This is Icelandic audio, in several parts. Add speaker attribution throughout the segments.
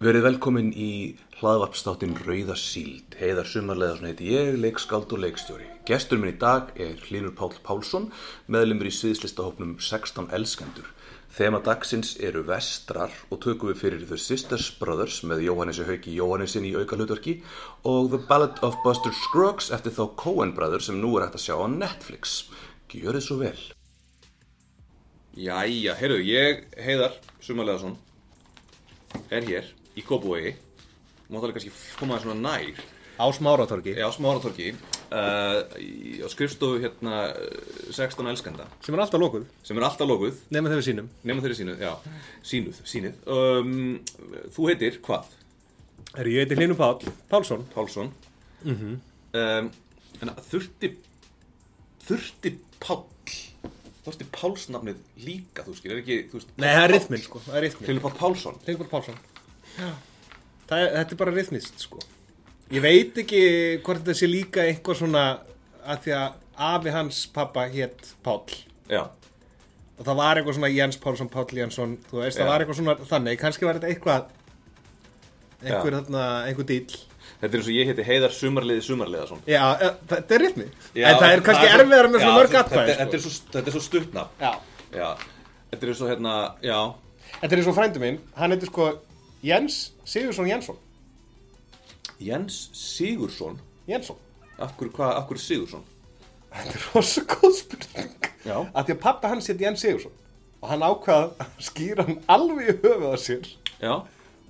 Speaker 1: Verið velkomin í hlaðvarpstáttin Rauða síld. Heiðar Sumarlega, svona heiti ég, leikskáld og leikstjóri. Gestur minn í dag er Hlynur Páll Pálsson, meðlumur í sviðslistahópnum 16 elskendur. Þema dagsins eru vestrar og tökum við fyrir The Sisters Brothers með Jóhannessi Hauki Jóhannessin í auka hlutverki og The Ballad of Buster Scruggs eftir þá Coen Brothers sem nú er hægt að sjá á Netflix. Gjörið svo vel.
Speaker 2: Jæja, heyrðu, ég, Heiðar Sumarleðarsson, er hér í Kópavogi Mátt alveg kannski koma þér svona nær
Speaker 3: Á smáratorgi
Speaker 2: Já, smáratorki uh, í- Á skrifstofu hérna eh, 16 elskenda
Speaker 3: sem er alltaf lókuð,
Speaker 2: Sem er alltaf lokuð,
Speaker 3: nema þegar við sínum
Speaker 2: nema þeirri sínuð, já Sínuð, sínuð um, Þú heitir hvað?
Speaker 3: Herru, ég heiti Hlynur Páll, Pálsson
Speaker 2: Pálsson Mhm. um, En þurfti Þurfti Páll Þurfti Pálsnafnið líka, þú skil Er ekki, þú veist
Speaker 3: Nei, það er rithminn, sko, það er rithminn
Speaker 2: Hlynur Páll Pálsson
Speaker 3: Hlynur Páll Pálsson það er, Þetta er bara rithmist, sko Ég veit ekki hvort þetta sé líka eitthvað svona að því að afi hans pappa hétt Páll
Speaker 2: Já,
Speaker 3: og það var eitthvað svona Jens Pálsson, Páll Jensson þú veist,
Speaker 2: Já.
Speaker 3: það var eitthvað svona þannig kannski var þetta eitthvað einhver, þarna, einhver dýll
Speaker 2: Þetta er eins og ég heiti Heiðar Sumarliði Sumarliðason
Speaker 3: Já, e, þetta er rithmi En það er kannski erfiðar með svona mörg atkvæði
Speaker 2: Þetta er
Speaker 3: sko.
Speaker 2: svo, þetta er svo stuttna
Speaker 3: Já
Speaker 2: Já Þetta er eins og hérna, já
Speaker 3: Þetta er eins og frændu minn, hann heitir sko Jens Sigursson Jensson
Speaker 2: Jens Sigursson
Speaker 3: Jensson
Speaker 2: Af hverju, hvað, af hverju Sigursson?
Speaker 3: Þetta er rosa góð spurning
Speaker 2: Já.
Speaker 3: Af því að pappa hans hétt Jens Sigursson og hann ákvað að skýra hann alveg í höfuð á sér
Speaker 2: Já,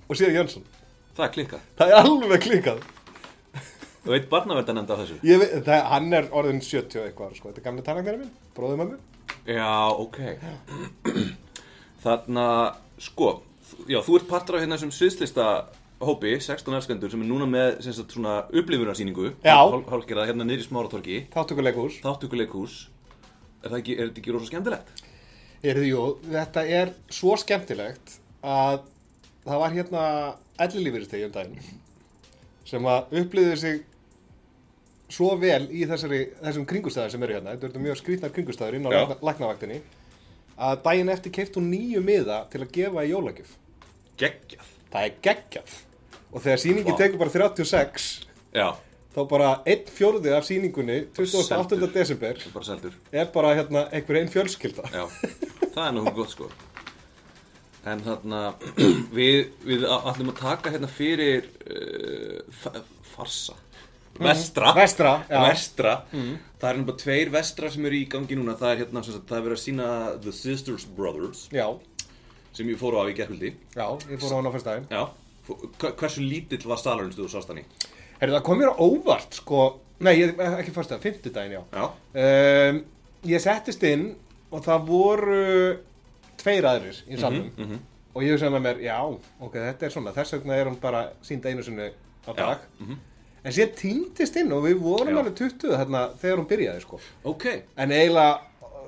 Speaker 3: og séð Jensson
Speaker 2: það er klikkað
Speaker 3: Það er alveg klíkað
Speaker 2: Þú veit barnaverda nefnda þessu
Speaker 3: Ég veit, það, Hann er orðin 70 og eitthvað sko. Þetta er gamli tannaknæri minn, bróðum að mér
Speaker 2: Já, ok Þarna, sko þú- Já, þú ert partur af hérna þessum sviðslista hópi, 16 elskendur sem er núna með sem sagt, svona upplifunarsýningu
Speaker 3: Já.
Speaker 2: hál- hálfgerða hérna niður í smáratorki
Speaker 3: Þáttökuleikús
Speaker 2: þáttökuleikús er, það ekki, er þetta ekki rosa skemmtilegt?
Speaker 3: Erðu, jú, þetta er svo skemmtilegt að það var hérna ellilífyristegi um daginn sem að upplýði sig svo vel í þessari, þessum kringustæðar sem eru hérna, þetta eru mjög skrýtnar kringustæður inn á
Speaker 2: Já.
Speaker 3: lækna- læknavaktinni að daginn eftir keift hún nýju miða til að gefa í jólagjöf.
Speaker 2: Geggjað
Speaker 3: Það er geggjað og þegar sýningin
Speaker 2: Vá.
Speaker 3: tekur bara 36
Speaker 2: Já,
Speaker 3: þá bara einn fjórði af sýningunni 28.
Speaker 2: Seldur.
Speaker 3: desember
Speaker 2: það er bara seldur
Speaker 3: er bara hérna einhver einn fjölskylda.
Speaker 2: Já, það er nú gott sko En þarna við, við a- ætlum að taka hérna fyrir uh, farsa Vestra
Speaker 3: Vestra, Mm. já. Mm.
Speaker 2: Vestra Það er nú bara tveir vestra sem eru í gangi núna Það er hérna, sem sagt, það er verið að sína The Sisters Brothers
Speaker 3: Já,
Speaker 2: sem ég fór á í gerkvöldi
Speaker 3: já, ég fór á hann á fyrst daginn.
Speaker 2: Já Fó- hva- Hversu lítill var salurinn sem þú sást hann í?
Speaker 3: Herru, það kom mér á óvart, sko, nei, ég, ekki fyrst að, fimmtudaginn, já.
Speaker 2: Já
Speaker 3: Um, ég settist inn og það voru tveir aðrir í salnum og ég hugsaði með mér, já, ok, þetta er svona, þess vegna er hún bara sínd einu sinni á dag. En sér týndist inn og við vorum
Speaker 2: Já.
Speaker 3: alveg 20 þarna þegar hún byrjaði, sko.
Speaker 2: Ok
Speaker 3: En eiginlega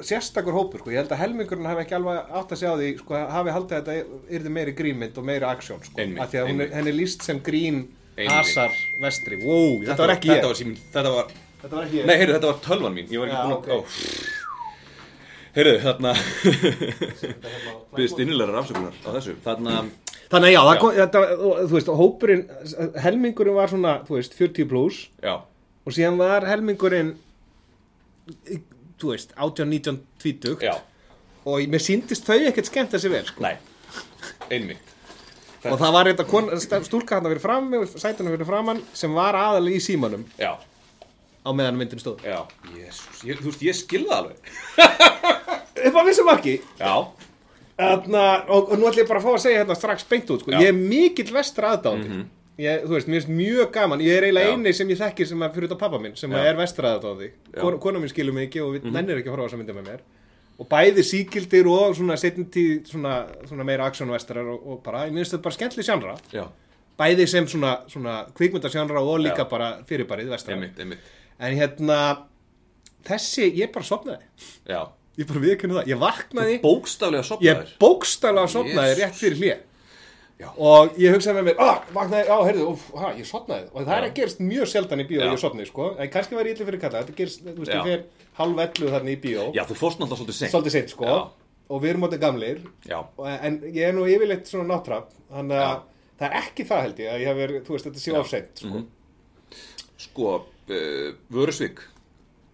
Speaker 3: sérstakur hópur, sko, ég held að helmingurinn hafi ekki alveg átt að sjá því, sko, hafi haldið að þetta yrði meiri grínmynd og meiri aksjón, sko.
Speaker 2: Einmitt,
Speaker 3: Af því að hún er,
Speaker 2: einmitt.
Speaker 3: henni er líst sem grín
Speaker 2: Einmitt.
Speaker 3: hasar vestri, wow, þetta, var ekki ég.
Speaker 2: Þetta var síminn, þetta var
Speaker 3: Þetta var ekki
Speaker 2: Nei, heyrðu, þetta var tölvan mín, ég var ekki
Speaker 3: Já,
Speaker 2: búinn
Speaker 3: ok.
Speaker 2: að... Okay. Heyrðu, hérna- þarna... Byggðist innilega rafsökunar á þessu. Þarna...
Speaker 3: Þannig að já, það kom, þetta, og, þú veist, hópurinn, helmingurinn var svona, þú veist, 40 pluss
Speaker 2: Já.
Speaker 3: og síðan var helmingurinn, í- þú veist, 18, 19, 20
Speaker 2: Já.
Speaker 3: og mér síndist þau ekkert skemmt þessi vel, sko.
Speaker 2: Nei. Einmitt.
Speaker 3: Og það var þetta kon, sta- stúlka hann að vera fram, sætan að vera framann sem var aðalega í símanum
Speaker 2: Já.
Speaker 3: á meðan myndin stóð.
Speaker 2: Já. Jésús, ég- þú veist, ég skilða alveg.
Speaker 3: Upp að vissum ekki,
Speaker 2: Já.
Speaker 3: Þarna, og, og nú ætlum ég bara að fá að segja hérna strax beint út, sko.
Speaker 2: Já.
Speaker 3: Ég er mikill vestra aðdáðandi. Ég, þú veist, mér finnst mjög gaman, ég er eiginlega
Speaker 2: Já.
Speaker 3: eini sem ég þekki sem að fyrir út á pappa minn, sem að
Speaker 2: Já.
Speaker 3: er vestra aðdáði.
Speaker 2: Já.
Speaker 3: Kon, kona mín skilur mig ekki og við nennir ekki að horfa á þessa myndi með mér. Og bæði síkildir og svona setjum tíð svona, svona meira aksjónvestrar og, og bara, ég minnst þetta bara skemmtli sjánra.
Speaker 2: Já.
Speaker 3: Bæði sem svona, svona kvikmyndasjánra og líka
Speaker 2: Já.
Speaker 3: bara fyrirbarið vestra.
Speaker 2: Einmitt, einmitt.
Speaker 3: En hérna, þessi, ég bara sopnaði.
Speaker 2: Já.
Speaker 3: Ég bara viðkynna það. Ég vaknaði
Speaker 2: Bókstaflega
Speaker 3: ég
Speaker 2: sopnaður.
Speaker 3: bókstæla sopnaði
Speaker 2: Jesus.
Speaker 3: rétt fyrir hlýja
Speaker 2: Já.
Speaker 3: og ég hugsaði með mér ah, vaknaði, á, heyrðu, óf, ha, ég sopnaði og það er að gerst mjög sjaldan í bíó
Speaker 2: Já.
Speaker 3: að ég sopnaði, sko, en kannski var ég illi fyrir kalla þetta gerst, þú veist,
Speaker 2: Já.
Speaker 3: ég fer halv ellu þarna í bíó
Speaker 2: Já, þú fórst náttúrulega svolítið seint.
Speaker 3: svolítið seint, sko
Speaker 2: Já.
Speaker 3: og við erum áttið gamlir
Speaker 2: Já.
Speaker 3: og, en ég er nú yfirleitt svona náttrapp þannig
Speaker 2: Já.
Speaker 3: að það er ekki það held ég að ég hef verið, þú veist, þetta sé ofseint sko.
Speaker 2: Sko, uh, vörusvík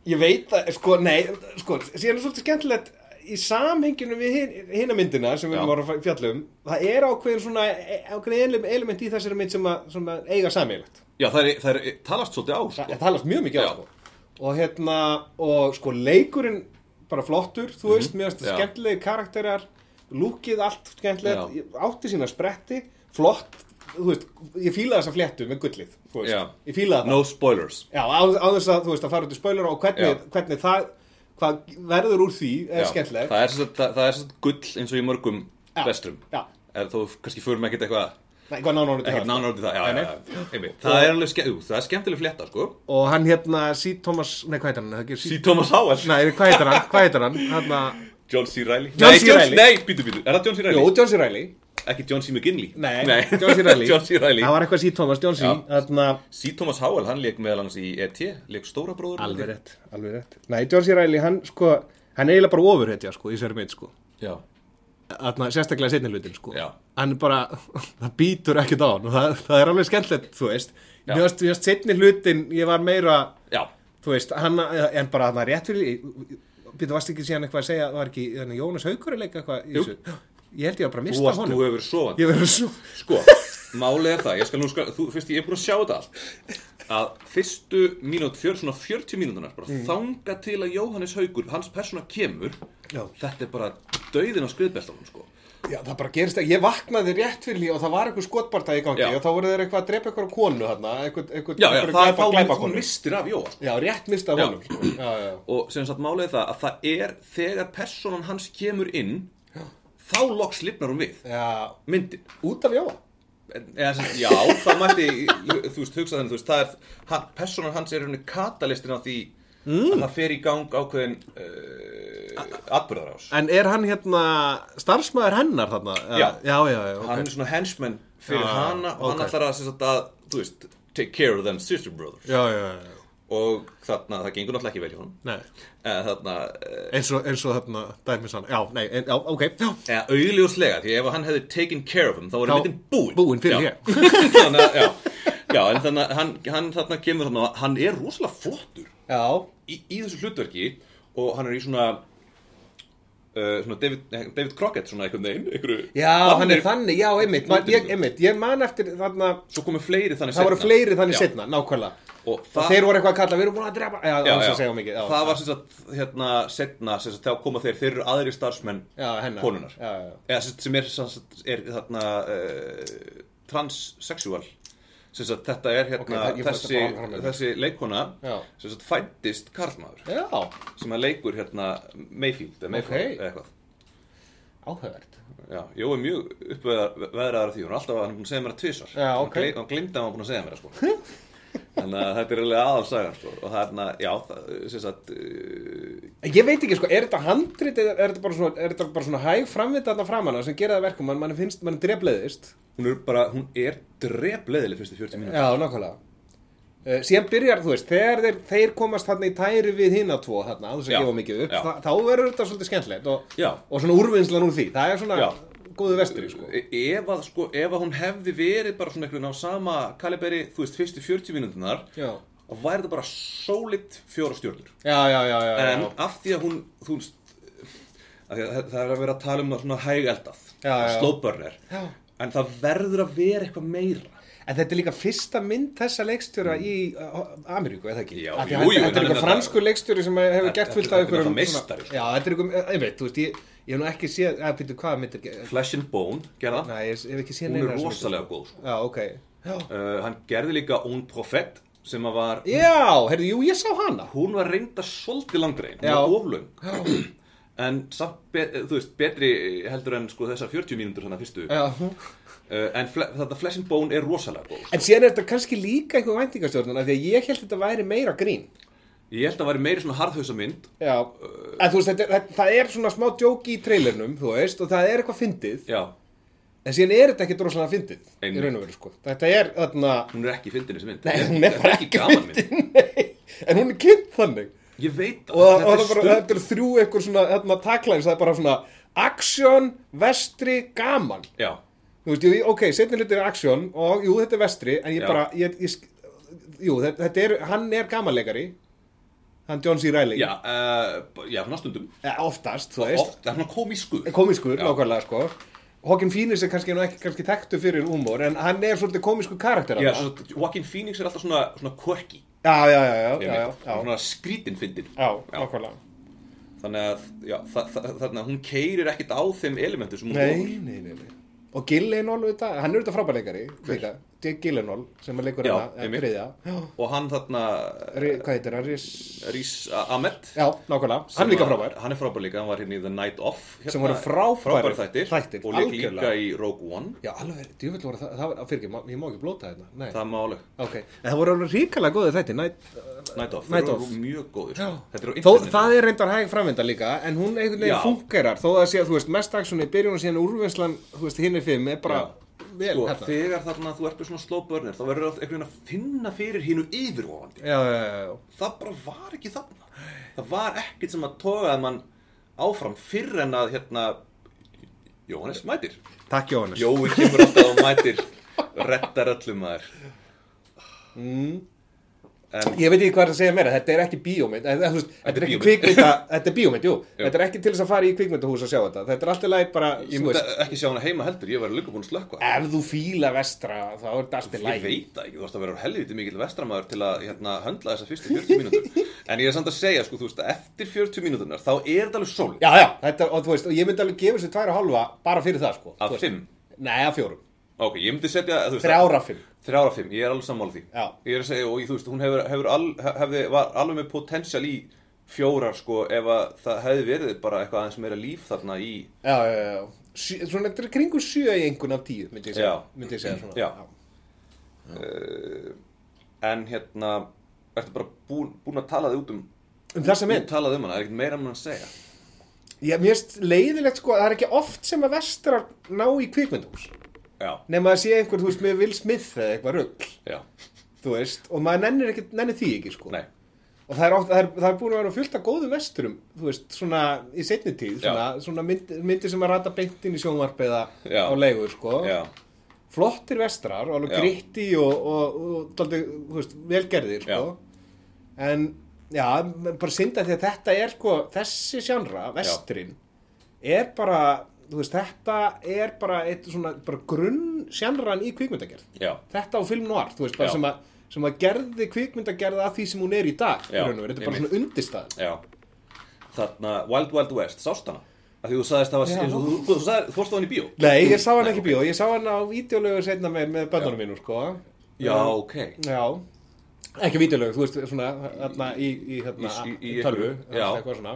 Speaker 3: ég veit það, sko, nei sko, síðan er svolítið skemmtilegt í samhenginu við hin- hina myndina sem við
Speaker 2: Já.
Speaker 3: erum að fara að fjalla um það er ákveðin svona, e, ákveðin ele- element í þessari mynd sem að, sem að eiga sameiglegt
Speaker 2: Já, það er, það er talast svolítið á
Speaker 3: það
Speaker 2: sko.
Speaker 3: það talast mjög mikið á
Speaker 2: Já.
Speaker 3: sko. og hérna, og sko leikurinn bara flottur, þú veist, mér finnst
Speaker 2: Mhm. Já.
Speaker 3: það skemmtilegi karakterar, lúkið allt skemmtilegt,
Speaker 2: Já.
Speaker 3: ég átti sína spretti flott, þú veist ég fílaði þessa fléttu með gullið þú veist,
Speaker 2: Já.
Speaker 3: ég fílaði það
Speaker 2: No spoilers
Speaker 3: Já, á, á þess að þú veist að fara út í spoiler og hvernig,
Speaker 2: Já.
Speaker 3: hvernig það, hvað verður úr því er
Speaker 2: Já.
Speaker 3: skemmtilegt.
Speaker 2: Það er sem sagt- það- það er sem sagt gull eins og í mörgum
Speaker 3: Já.
Speaker 2: vestrum
Speaker 3: Já,
Speaker 2: En þó kannski förum ekkert eitthvað
Speaker 3: Nei, eitthvað nánar út í
Speaker 2: Ekkert
Speaker 3: það.
Speaker 2: nánar út í það, já, já,
Speaker 3: Nei,
Speaker 2: já, já. einmitt. Það er alveg skemmt, það er skemmtileg flétta, sko
Speaker 3: Og hann hérna, C. Thomas, nei hvað heitir hann? Það er ekki C.
Speaker 2: Sí Thomas Howell,
Speaker 3: Nei, hvað heitir hann? Hvað heitir hann? Hérna- Hanna...
Speaker 2: John C. Reilly
Speaker 3: John
Speaker 2: Nei,
Speaker 3: C. Reilly.
Speaker 2: Nei, býtu, býtu, er það John C.
Speaker 3: Jó,
Speaker 2: Reilly?
Speaker 3: John C. Reilly.
Speaker 2: Ekki John C. McGinley
Speaker 3: Nei, John C. Reilly.
Speaker 2: John C. Reilly
Speaker 3: Það var eitthvað C. Thomas, Hérna- John C.
Speaker 2: Já.
Speaker 3: Þarna...
Speaker 2: Sí Thomas Howell, hann leik meðal hans í E.T. Leik stóra bróður
Speaker 3: Alveg rétt, alveg rétt. Nei, John C. Reilly, hann sko, hann er eiginlega bara ofurhetja sko í sér mynd sko.
Speaker 2: Já,
Speaker 3: Þarna, sérstaklega setni hlutin sko.
Speaker 2: Já.
Speaker 3: Hann bara, það býtur ekkert á hann og það, það er alveg skemmtilegt, þú veist.
Speaker 2: Já.
Speaker 3: Mér varst, varst setni hlutin, ég var meira...
Speaker 2: já,
Speaker 3: þú veist, hann, en bara hann rétt fyrir, býttu varst ekki síðan eitthvað að segja, var ekki þannig, Jónas Haukur að leika eitthvað í
Speaker 2: Jú.
Speaker 3: þessu, ég held ég að bara
Speaker 2: þú
Speaker 3: mista
Speaker 2: varst, þú
Speaker 3: honum,
Speaker 2: hefur verið sofandi
Speaker 3: ég verður svo,
Speaker 2: Sko, málið er það, ég skal nú skal, þú, fyrst ég er búin að sjá þetta allt að fyrstu mínút, fjör, svona 40 mínútunar bara
Speaker 3: Mm.
Speaker 2: þanga til að Jóhannes Haugur hans persóna kemur
Speaker 3: Já.
Speaker 2: þetta er bara döðin á skriðbeltanum sko.
Speaker 3: já það bara gerist ekki, ég vaknaði rétt fyrir því og það var eitthvað skotbarta í gangi
Speaker 2: Já.
Speaker 3: og þá voru þeir eitthvað að drepa eitthvað konu hann, eitthvað, eitthvað,
Speaker 2: já, já,
Speaker 3: eitthvað
Speaker 2: það er bara
Speaker 3: glæpa
Speaker 2: þú
Speaker 3: konu,
Speaker 2: mistir af Jóhann sko.
Speaker 3: já, rétt mista
Speaker 2: Já.
Speaker 3: honum, sko. já, já,
Speaker 2: og sem sagt málið er það að það er þegar persónan hans kemur inn þá loks lifnar hún við
Speaker 3: já,
Speaker 2: myndin
Speaker 3: út af Jóa,
Speaker 2: En- eða, sem, já, það mætti þú veist, hugsa þenni, þú veist, það er hann, personan hans er henni katalistin á því að það fer í gang ákveðin uh, atbyrðarás
Speaker 3: en er hann hérna starfsmæður hennar þarna,
Speaker 2: Já.
Speaker 3: já, já, já,
Speaker 2: hann er svona henchman fyrir
Speaker 3: Já,
Speaker 2: hana og hann
Speaker 3: ok.
Speaker 2: ætlar að, sem sagt, að, þú veist, take care of them sister brothers
Speaker 3: já, já, já,
Speaker 2: og þarna, það gengur náttúrulega ekki vel hjá hann
Speaker 3: nei,
Speaker 2: eða þarna, eh,
Speaker 3: eins og, eins og þarna, dæmis hann, já, nei, en, já, ok, já,
Speaker 2: eða augljóslega því ef hann hefði taken care of him þá
Speaker 3: Þá-
Speaker 2: voru myndin búin
Speaker 3: búin fyrir
Speaker 2: já.
Speaker 3: hér.
Speaker 2: þannig að, já, já, en þannig að hann, hann þarna kemur þarna, og hann er rosalega flottur
Speaker 3: já,
Speaker 2: í, í þessu hlutverki og hann er í svona Uh, svona David, eh, David Crockett svona einhvern veginn einhverju,
Speaker 3: Já, hann er þannig, já, einmitt, man,
Speaker 2: Útidúr.
Speaker 3: ég, einmitt, ég man eftir þarna,
Speaker 2: svo komu fleiri þannig
Speaker 3: það voru
Speaker 2: seinna.
Speaker 3: fleiri þannig
Speaker 2: Já,
Speaker 3: setna, nákvæmlega.
Speaker 2: og
Speaker 3: Og
Speaker 2: það,
Speaker 3: þeir voru eitthvað að kalla, við erum búin að drepa, já,
Speaker 2: já,
Speaker 3: það
Speaker 2: já,
Speaker 3: að segja mikið. Já,
Speaker 2: það var sem sagt hérna setna sem sagt þá koma þeir, þeir eru aðri starfsmenn
Speaker 3: já, hennar.
Speaker 2: konunnar
Speaker 3: Já, já, já.
Speaker 2: eða sem, sagt, sem er, sem sagt, er þarna uh, transsexual sem sagt þetta er hérna
Speaker 3: Ok, það- ég fór þetta
Speaker 2: þessi,
Speaker 3: bara fram með mér.
Speaker 2: þessi leikona
Speaker 3: Já.
Speaker 2: sem sagt fættist karlmaður
Speaker 3: Já,
Speaker 2: sem að leikur hérna Mayfield eða Mayfield
Speaker 3: Ok.
Speaker 2: eða eitthvað
Speaker 3: áhugavert.
Speaker 2: Já, Jó er mjög uppveðraðar af því, hún er alltaf hann er búin að segja mér það tvisar
Speaker 3: Já, ok.
Speaker 2: Hann glimta að hann var búin að segja mér það sko Þannig að þetta er alveg aðalsagan sko Og það er hérna, já, það, sem sagt uh,
Speaker 3: En Ég veit ekki, sko, er þetta handrit eða er þetta bara svona, er þetta bara svona hæg framvita þarna framanna sem gera það verkum, mann, mann finnst, mann drefleðist.
Speaker 2: Hún er bara, hún er drefleðileg fyrstu 40 mínútur
Speaker 3: Já, nákvæmlega. Uh, síðan byrjar, þú veist, þegar þeir, þeir komast þarna í tæri við hina tvo þarna, þess
Speaker 2: Já,
Speaker 3: að gefa mikið upp,
Speaker 2: já.
Speaker 3: það, þá verður þetta svolítið skemmtilegt og,
Speaker 2: Já.
Speaker 3: og svona úrvinnslan úr því, það er svona
Speaker 2: Já.
Speaker 3: góðu vestri, sko.
Speaker 2: E- Ef að, sko, ef að hún hefði verið bara svona einhvern á sama kaliberi, þú veist, fyrstu 40 mínúturnar
Speaker 3: Já.
Speaker 2: Og væri þetta bara sólitt fjóra stjórnur
Speaker 3: Já, já, já, já,
Speaker 2: En
Speaker 3: já.
Speaker 2: af því að hún, þú veist af því að Það það er að vera að tala um það svona hægeldað
Speaker 3: Já, já.
Speaker 2: Slow burner
Speaker 3: já.
Speaker 2: En það verður að vera eitthvað meira
Speaker 3: En þetta er líka fyrsta mynd þessa leikstjóra í uh, Ameríku, eða ekki?
Speaker 2: Já,
Speaker 3: Af því
Speaker 2: jú,
Speaker 3: að
Speaker 2: jú,
Speaker 3: Þetta
Speaker 2: en hann
Speaker 3: þetta er
Speaker 2: er
Speaker 3: einhver
Speaker 2: þetta-
Speaker 3: franskur leikstjóri sem hefur
Speaker 2: Þetta-
Speaker 3: gert fullt
Speaker 2: þetta
Speaker 3: af
Speaker 2: er náttúrulega
Speaker 3: einhverjum... svona-
Speaker 2: meistari, sko.
Speaker 3: Já, þetta er einhver, ég veit, þú veist, ég, ég hef nú ekki séð, að byrju hvað myndir... Nei,
Speaker 2: Flesh and Bone, gerða það?
Speaker 3: ég hef ekki séð
Speaker 2: Hún
Speaker 3: neina
Speaker 2: er
Speaker 3: þessar
Speaker 2: rosalega
Speaker 3: myndir.
Speaker 2: góð sko.
Speaker 3: Já, ok. Já,
Speaker 2: uh, Hann gerði líka Un Prophet sem að var,
Speaker 3: já herrðu, jú, ég sá hana.
Speaker 2: hún var reynda svolítið langdrein, hún
Speaker 3: Já.
Speaker 2: var oflöng En samt, be, þú veist, betri heldur en sko þessar 40 mínútur þannig að fyrstu uh,
Speaker 3: Já.
Speaker 2: Eh, En fle, þetta Flesh and Bone er rosalega góð sko.
Speaker 3: En síðan er þetta kannski líka einhver væntingastjórnun, af því að ég held þetta væri meira grín.
Speaker 2: Ég held að væri meiri svona harðhausa mynd
Speaker 3: Já, en þú veist, þetta, þetta, það er svona smá djóki í trailernum, þú veist, og það er eitthvað fyndið.
Speaker 2: Já,
Speaker 3: En síðan er þetta ekki droslega fyndið
Speaker 2: Einmitt.
Speaker 3: í raun og veru sko. Þetta er þarna,
Speaker 2: hún er ekki fyndin þessi mynd
Speaker 3: nei,
Speaker 2: Þetta
Speaker 3: hún er bara ekki fyndið, nei, en hún er kynnt þannig.
Speaker 2: Ég veit
Speaker 3: Og, og það
Speaker 2: þetta
Speaker 3: bara,
Speaker 2: er stund
Speaker 3: þetta er þrjú eitthvað svona, þarna taklænins, það er bara svona action, vestri, gaman.
Speaker 2: Já,
Speaker 3: Þú veist, ég, ok, setni hlutin er action og jú, þetta er vestri, en ég
Speaker 2: Já.
Speaker 3: bara, ég, ég, sk- jú, þetta, þetta er, hann er gamanleikari, hann John C. Reilly,
Speaker 2: Já, uh, já, svona stundum
Speaker 3: Eh, oftast, þú veist,
Speaker 2: Oft, það er svona komískur
Speaker 3: komískur,
Speaker 2: Já.
Speaker 3: nákvæmlega, sko. Hawking Phoenix er kannski, nú ekki kannski þekktu fyrir húmor, en hann er svolítið komískur karakter.
Speaker 2: Já,
Speaker 3: þarna.
Speaker 2: svona, Joaquin Phoenix er alltaf svona, svona quirky
Speaker 3: já, já, já, já,
Speaker 2: ég
Speaker 3: já, já,
Speaker 2: veit,
Speaker 3: já,
Speaker 2: svona skrítin fyndin
Speaker 3: já, nákvæmlega.
Speaker 2: þannig að já, þa þa þannig að hún keirir ekkit á þeim elementum sem hún
Speaker 3: Nei, nei, nei, nei. Og Gyllenhaal, þetta, hann er þetta frábæleikari, líka, Jake Gyllenhaal, sem er leikur
Speaker 2: Já,
Speaker 3: hana, eh,
Speaker 2: einmitt.
Speaker 3: þriðja. Já.
Speaker 2: dólar. og hann þarna
Speaker 3: Ri- Hvað heitir hann? Rís...
Speaker 2: Rís Ahmed
Speaker 3: Já, nákvæmlega,
Speaker 2: sem
Speaker 3: hann er líka
Speaker 2: var-
Speaker 3: frábær.
Speaker 2: hann er frábær líka, hann var hérna í The Night Off hérna,
Speaker 3: Sem voru frábærir
Speaker 2: þættir,
Speaker 3: þættir,
Speaker 2: og leik
Speaker 3: algjörlega.
Speaker 2: líka í Rogue One
Speaker 3: Já, alveg, djúvill voru það, það var, fyrir ekki, ég má ekki blóta þetta, nei.
Speaker 2: það er máleg,
Speaker 3: Ok, en það voru alveg ríkalega góðið þetta, næ,
Speaker 2: Night Off,
Speaker 3: Night
Speaker 2: þeir
Speaker 3: Off.
Speaker 2: eru mjög góðir
Speaker 3: Já.
Speaker 2: þetta er á
Speaker 3: þó,
Speaker 2: internetinu.
Speaker 3: það er reyndar hæg framvinda líka, en hún einhvern veginn
Speaker 2: Já.
Speaker 3: fungerar, þó það sé að, þú veist, mest aksjónu í byrjun og síðan úrvinnslan, þú veist, hinn er fimm, er bara, vel,
Speaker 2: Sko,
Speaker 3: hérna.
Speaker 2: þegar þarna þú ert með svona slow burner þá verður alltaf einhvern veginn að finna fyrir hínu yfirvofandi
Speaker 3: Já, já, já, já.
Speaker 2: það bara var ekki þarna það var ekkert sem að togaði mann áfram fyrr en að hérna Jóhannes mætir
Speaker 3: Takk, Jóhannes.
Speaker 2: Jói kemur alltaf og mætir rettar öllum maður en
Speaker 3: Ég veit ekki hvað er að segja meira, þetta er ekki bíómynd, eh, þú veist, þetta er ekki
Speaker 2: bíómynd.
Speaker 3: kvikmynda, þetta er bíómynd, jú, þetta er ekki til þess að fara í kvikmyndahús að sjá þetta, þetta er alltaf læg bara,
Speaker 2: ég
Speaker 3: þú
Speaker 2: myndi
Speaker 3: veist,
Speaker 2: ekki sjá hana heima heldur ég var líka búin að slökka
Speaker 3: ef þú fíla vestra, þá er þetta alltaf
Speaker 2: Ég
Speaker 3: læg.
Speaker 2: veit það ekki, þú ætti að vera helviti mikill vestramæður til að hérna, höndla þessa fyrstu 40 mínútur En ég er samt að segja, sko, þú veist, að eftir 40 mínúturnar þá er þetta alveg sólið
Speaker 3: Já, já, þetta, og þú veist, og ég myndi alveg gefa sér tvær og hálfa bara fyrir það, sko.
Speaker 2: Af
Speaker 3: Þú veist.
Speaker 2: fimm?
Speaker 3: Nei, af fjórum.
Speaker 2: Ok, ég myndi setja þú veist,
Speaker 3: Þrjára fimm.
Speaker 2: Þrjára fimm, ég er alveg sammála því
Speaker 3: Já.
Speaker 2: Ég er að segja, og ég, þú veist, hún hefur, hefur al, hefði, var alveg með potensial í fjórar sko ef að það hefði verið bara eitthvað aðeins meira líf þarna í
Speaker 3: Já, já, já, já. Sjö- Svona, þetta er kringu sjö í einhvern af tíu, myndi ég segja,
Speaker 2: Já.
Speaker 3: myndi ég segja svona.
Speaker 2: Já. en hérna, ertu bara búin, búin að tala þig út um
Speaker 3: Um þessa
Speaker 2: Ég
Speaker 3: mynd,
Speaker 2: talaði um hana, er ekkert meira um hann að segja
Speaker 3: ég mérst leiðilegt, sko, að það er ekki oft sem að vestrar ná í kvikmyndahús.
Speaker 2: Já,
Speaker 3: Nefn að sé einhver, þú veist, með Will Smith eða eitthvað rugg,
Speaker 2: já,
Speaker 3: þú veist, og maður nennir, ekki, nennir því ekki, sko.
Speaker 2: nei
Speaker 3: Og það er, oft, það, er, það er búin að vera fullt af góðum vesturum, þú veist, svona í setni tíð,
Speaker 2: Já.
Speaker 3: svona, svona mynd, myndir sem að rata beint inn í sjónvarp eða
Speaker 2: Já.
Speaker 3: á leigur, sko.
Speaker 2: Já,
Speaker 3: Flottir vestrar, og alveg
Speaker 2: Já.
Speaker 3: gritti og, og, og, og daldið, þú veist, velgerðir, sko. En, já, bara synda því að þetta er, sko, þessi sjánra, vesturinn, er bara, þú veist, þetta er bara, eitt, svona, bara grunn sjánran í kvikmyndagerð
Speaker 2: já,
Speaker 3: þetta á film noir, þú veist, bara
Speaker 2: Já.
Speaker 3: sem að, sem að gerði kvikmyndagerða að því sem hún er í dag í
Speaker 2: Já,
Speaker 3: raun og veru. þetta er bara
Speaker 2: einmitt.
Speaker 3: svona undistæð
Speaker 2: já Þarna, Wild Wild West, sást hana Af því þú sagðist það var,
Speaker 3: Já.
Speaker 2: eins og þú, þú, þú, sagðir- þú fórst á hann í bíó
Speaker 3: Nei, ég sá hann ekki í bíó, ég sá hann á videolögu setna með, með bönnunum mínu, sko
Speaker 2: Já, ok
Speaker 3: Já, ekki videolögu, þú veist, svona þarna í, í, þarna,
Speaker 2: Í- í- í
Speaker 3: tölvu
Speaker 2: einhverju, já.
Speaker 3: eitthvað svona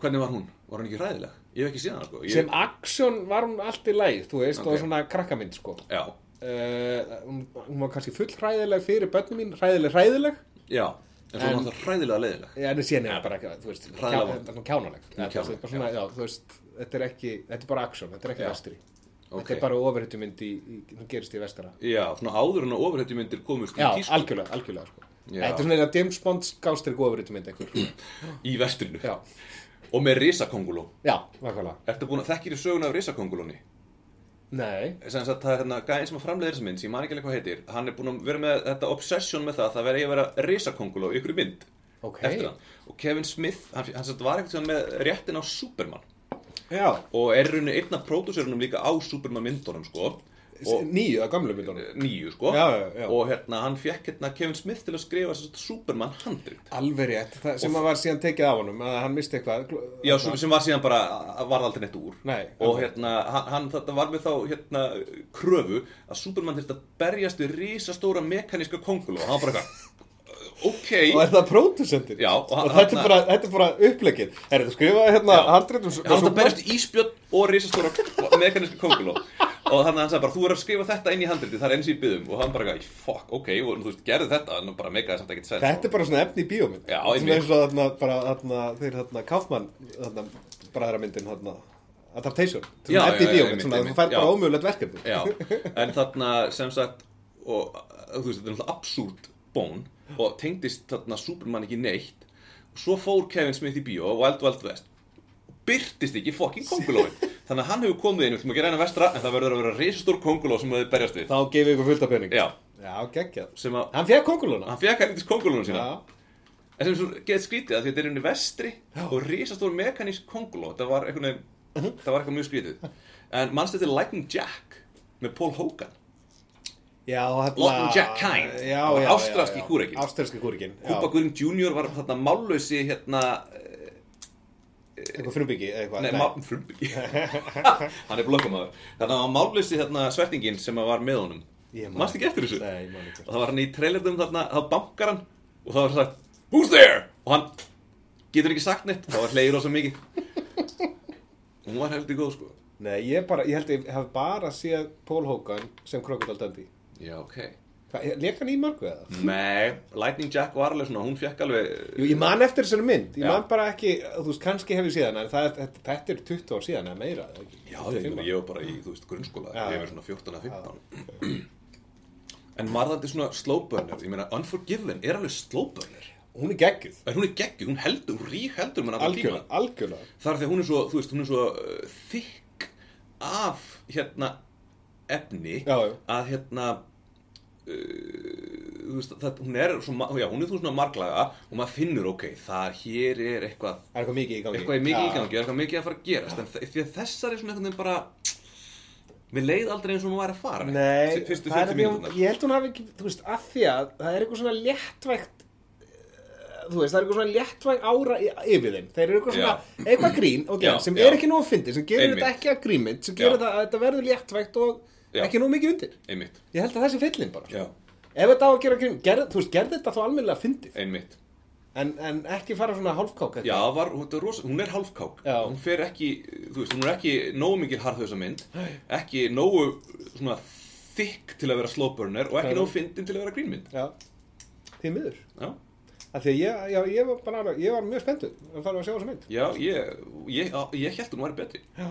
Speaker 2: Hvernig var hún? Var hann ekki hræðileg? Ég hef ekki séð hana, sko ég,
Speaker 3: Sem aksjón var hún allt í læð, þú veist,
Speaker 2: Ok.
Speaker 3: og svona krakkamynd, sko
Speaker 2: Já,
Speaker 3: Uh, hún hún var kannski full hræðileg fyrir börnum mín, hræðileg, hræðilega
Speaker 2: Já, en svo
Speaker 3: En-
Speaker 2: er það hræðilega leiðileg
Speaker 3: Já, en síðan er það bara ekki, þú veist,
Speaker 2: Hræðilega vond.
Speaker 3: kjá- kjánaleg. Þetta er
Speaker 2: kjánaleg,
Speaker 3: bara svona, já, þú veist, þetta er ekki, þetta er bara action, þetta er ekki
Speaker 2: Já.
Speaker 3: vestri. Þetta
Speaker 2: Ok.
Speaker 3: er bara ofurhetjumynd í, í, sem gerist í vestara.
Speaker 2: Já, svona áður en að ofurhetjumyndir komust í
Speaker 3: Já,
Speaker 2: tísku
Speaker 3: algjörlega, algjörlega, sko.
Speaker 2: Já.
Speaker 3: Þetta er svona eða James Bond skástrík ofurhetjumynd einhver.
Speaker 2: í vestrinu
Speaker 3: já,
Speaker 2: og með risakonguló
Speaker 3: já, nákvæmlega.
Speaker 2: Ertu búin að þekkir í söguna af risakongulóni?
Speaker 3: Nei,
Speaker 2: Sem sagt, það er hérna gæðin sem að framleiðir þessa mynd sem ég man ekki alveg hvað heitir hann er búin að vera með þetta obsession með það að það verði að vera risakonguló í ykkur mynd
Speaker 3: ok.
Speaker 2: eftir hann og Kevin Smith, hann, hann sagt, var eitthvað með réttin á Superman
Speaker 3: Já,
Speaker 2: og er í rauninni einn af pródúsörunum líka á Superman myndunum sko
Speaker 3: og, nýju að gamlu myndunum.
Speaker 2: nýju sko
Speaker 3: Já, já, já.
Speaker 2: og hérna hann fekk hérna Kevin Smith til að skrifa sem sagt, Superman handrit
Speaker 3: Alveg rétt, það sem að var síðan tekið af honum, að hann misti eitthvað. gl-
Speaker 2: Já, sem, sem var síðan bara, var aldrei neitt úr
Speaker 3: Nei,
Speaker 2: Og
Speaker 3: ok.
Speaker 2: hérna, hann, hann þetta var með þá hérna, kröfu að Superman þurfti að berjast við risastóra mekaníska konguló og hann var bara eitthvað
Speaker 3: Og er
Speaker 2: Ok,
Speaker 3: það pródusendir?
Speaker 2: Já, og
Speaker 3: og,
Speaker 2: hann-
Speaker 3: þetta, er
Speaker 2: hann-
Speaker 3: bara, þetta er bara upplegið. Er þetta skrifaði hérna
Speaker 2: Já.
Speaker 3: handritum?
Speaker 2: hann þurfti að berjast við íspjöld og risastóra mekaníska konguló Og þannig að hann sagði bara, þú er að skrifa þetta inn í handriti, það er eins í byðum Og hann bara eitthvað, fuck, ok, og, þú veist, gerði þetta, en bara meikaði samt ekkert sens
Speaker 3: Þetta er bara svona efni í bíómynd
Speaker 2: Já,
Speaker 3: Svona
Speaker 2: einmitt.
Speaker 3: eins og þarna, bara, þarna, þeir þarna Kaufmann, þarna, bræðramyndin þarna, adaptation
Speaker 2: Já,
Speaker 3: Svona efni
Speaker 2: já,
Speaker 3: í
Speaker 2: já,
Speaker 3: bíómynd,
Speaker 2: einmitt,
Speaker 3: svona þú
Speaker 2: einmitt,
Speaker 3: fær bara
Speaker 2: já.
Speaker 3: ómjögulegt verkefni
Speaker 2: Já, en þarna sem sagt og uh, þú veist, þetta er náttúrulega absúrt bón og tengdist þarna Superman ekki neitt og svo fór Kevin Smith í bíó Wild Wild West og byrtist ekki fokkin kongulóin Þannig að hann hefur komið inn, við ætlum að gera hennar vestra, en það verður að vera risastór konguló sem þið berjast við.
Speaker 3: Þá gefið ykkur fullt af pening.
Speaker 2: Já,
Speaker 3: Já, geggjað.
Speaker 2: sem að,
Speaker 3: Hann fekk konguluna.
Speaker 2: hann fekk helvitist kongulónu sína.
Speaker 3: Já.
Speaker 2: En sem svo getur skrítið að því að þetta er einhvern vestri og risastór mekanísk konguló, það var einhvern veginn,
Speaker 3: Mhm.
Speaker 2: það var eitthvað mjög skrítið. En mannstu þetta er Lightning Jack með Paul Hogan.
Speaker 3: Já, hérna...
Speaker 2: Lawton Jack Kind.
Speaker 3: Já, já,
Speaker 2: Það var
Speaker 3: já.
Speaker 2: ástralski
Speaker 3: já.
Speaker 2: kúrekinn.
Speaker 3: Ástralski kúrikinn.
Speaker 2: Kuba Guðring Jr. var þarna mállausi hérna,
Speaker 3: Eitthvað frumbyggi eða eitthvað.
Speaker 2: nei, má, frumbyggi, hann er blökkumæður. Þannig að hann var mállausi hérna svertingin sem að var með honum.
Speaker 3: Ég man
Speaker 2: Manstu ekki eftir þessu?
Speaker 3: Nei, ég man ekki.
Speaker 2: og það var hann í trailernum þarna, þá bankar hann og það var sagt, who's there? og hann getur ekki sagt neitt, þá var hlegið rosa mikið hún var heldur góð sko
Speaker 3: Nei, ég bara, ég held að ég hef bara séð Paul Hogan sem Crocodile Dundee.
Speaker 2: já, ok
Speaker 3: Hvað, Lek hann í mörgu eða?
Speaker 2: nei, Lightning Jack var alveg svona, hún fekk alveg
Speaker 3: Jú, ég man eftir þessari mynd, ég
Speaker 2: Já.
Speaker 3: man bara ekki, þú veist, kannski hef ég séð hana, en það, þetta, þetta er 20 ár síðan, eða meira, eða ekki?
Speaker 2: já, ég, meina, ég var bara í, þú veist, grunnskóla
Speaker 3: Já.
Speaker 2: ég var svona 14 að 15 en marðandi svona slow burner ég meina, Unforgiven er alveg slow burner
Speaker 3: Hún er geggjuð,
Speaker 2: en hún er geggjuð, hún heldur, hún rík heldur með allan tímann.
Speaker 3: algjörlega, algjörlega.
Speaker 2: Það er því að hún er svo, þú veist, hún er svo uh, þykk af hérna efni
Speaker 3: Já, já.
Speaker 2: að hérna uh, þú veist, það, hún er svo, ma- já, hún er þú svona marglaga og maður finnur, ok, það hér er eitthvað,
Speaker 3: Það er eitthvað mikið í gangi.
Speaker 2: eitthvað er mikið
Speaker 3: Já.
Speaker 2: í gangi, eitthvað mikið að fara að gerast, en þe- því að þessar er svona einhvern veginn bara við leið aldrei eins og hún væri að fara
Speaker 3: Nei,
Speaker 2: fyrstu
Speaker 3: það er
Speaker 2: 40
Speaker 3: að hún,
Speaker 2: mínúturnar
Speaker 3: ég held hún hafi ekki, þú veist, af því að það er eitthvað svona léttvægt eh, þú veist, það er eitthvað svona léttvæg ára í- yfir þeim, þeir eru eitthvað svona eitthvað grín, ok,
Speaker 2: Já,
Speaker 3: sem
Speaker 2: já.
Speaker 3: er ekki nóg fyndið, sem gerir
Speaker 2: Einmitt.
Speaker 3: þetta ekki að grímynd sem gerir
Speaker 2: Já.
Speaker 3: þetta að þetta verður léttvægt og
Speaker 2: Já.
Speaker 3: ekki nóg mikið undir
Speaker 2: einmitt,
Speaker 3: ég held að það sé fyllin bara
Speaker 2: já,
Speaker 3: ef þetta á að gera grímynd, gerð, þú veist, gerð þetta þá almennilega fyndið,
Speaker 2: einmitt
Speaker 3: en, en ekki fara svona hálfkák
Speaker 2: Já, var, hún, þetta er rosa, hún er hálfkák
Speaker 3: Já.
Speaker 2: Hún fer ekki, þú veist, hún er ekki nógu mikil harðhauðsa mynd Ekki nógu svona þykk til að vera slow burner Og ekki
Speaker 3: Já.
Speaker 2: nógu fyndin til að vera grínmynd
Speaker 3: Já. því miður
Speaker 2: Já,
Speaker 3: af því að ég, já, ég var bara, alveg- ég var mjög spenntur að fara að sjá þessa mynd
Speaker 2: já ég, ég, á- ég held hún væri betri
Speaker 3: já.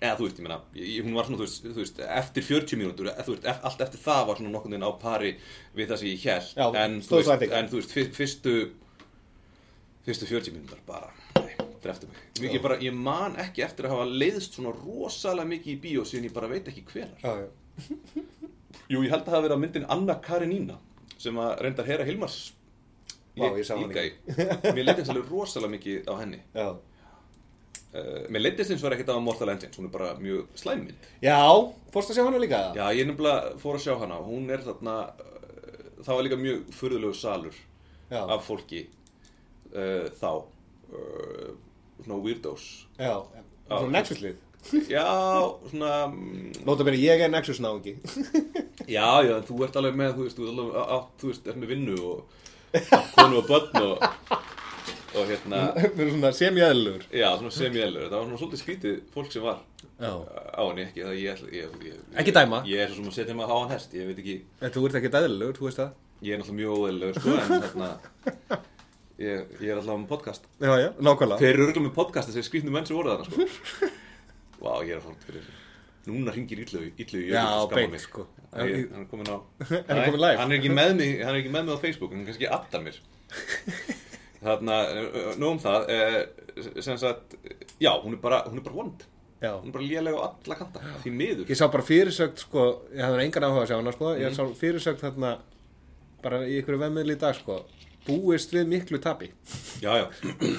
Speaker 2: Eða þú veist, ég meina, ég, hún var svona, þú veist, þú veist eftir 40 mínútur eða, Þú veist, ef, allt eftir það var svona nokkurn veginn á pari við það sem ég hélt
Speaker 3: Já,
Speaker 2: en, þú
Speaker 3: stóð það
Speaker 2: veist,
Speaker 3: ekki.
Speaker 2: en þú veist, fyr- fyrstu, fyrstu 40 mínútur bara, nei, dreftu mig Ég, ég, bara, ég man ekki eftir að hafa leiðst svona rosalega mikið í bíó Síðan ég bara veit ekki hvenar
Speaker 3: Já, já.
Speaker 2: Jú, ég held að það hafi verið á myndin Anna Karenína sem að reyndar Hera Hilmars
Speaker 3: Vá,
Speaker 2: lék
Speaker 3: ég sá hana
Speaker 2: líka í. Mér leiddist alveg rosalega mikið á henni
Speaker 3: Já.
Speaker 2: uh, Mér leiddist eins og er ekkert á Mortal Engines hún er bara mjög slæmmynd
Speaker 3: já, fórst að sjá hana líka
Speaker 2: Já, ég nefnilega fór að sjá hana og hún er þarna uh, það var líka mjög furðulegu salur
Speaker 3: Já.
Speaker 2: af fólki uh, þá uh, svona weirdos
Speaker 3: Já,
Speaker 2: Já.
Speaker 3: svona Nexus-lið.
Speaker 2: Já, svona mm,
Speaker 3: Nóta beni, ég er Nexus-náðungi.
Speaker 2: Já, já, en þú ert alveg með, þú veist, þú ert alveg, á, á, þú veist, ert með vinnu og konu og börn og, og hérna,
Speaker 3: Við erum svona semi-eðlugur.
Speaker 2: já, svona semi-elur, það var svona svolítið skrítið fólk sem var
Speaker 3: Já.
Speaker 2: á henni, ekki, það ég, ætla- ég, ég, ég
Speaker 3: Ekki dæma.
Speaker 2: Ég er svo sem að setja mig á hann hest, ég veit ekki,
Speaker 3: En þú ert ekki eðlugur, þú veist það?
Speaker 2: ég er náttúrulega mjög óðilegur, sko, en þarna, ég, ég er alltaf með podcast.
Speaker 3: Já, já, nákvæmlega.
Speaker 2: Þeir eru örgulega með podcast þessi skrítnu menn sem voru þarna, sko. Vá, ég er að fara út fyrir þessu. Núna hringir illu, illu, ég
Speaker 3: Já,
Speaker 2: að skamma
Speaker 3: beint,
Speaker 2: mig.
Speaker 3: sko.
Speaker 2: Ég, hann er komin á
Speaker 3: Er hann kominn live?
Speaker 2: Hann er ekki með mig, hann er ekki með mig á Facebook Hann kannski addar mér Þarna, eh, nú um það eh, sem sagt, já, hún er bara hún er bara vond,
Speaker 3: Já.
Speaker 2: hún er bara lélega á alla kanta, því miður
Speaker 3: Ég sá bara fyrirsögt, sko, ég hafði engan áhuga að sjá hana, sko,
Speaker 2: Mhm.
Speaker 3: ég sá fyrirsögt þarna, bara í ykkur vemmiðli í dag, sko, búist við miklu tapi.
Speaker 2: Já, já,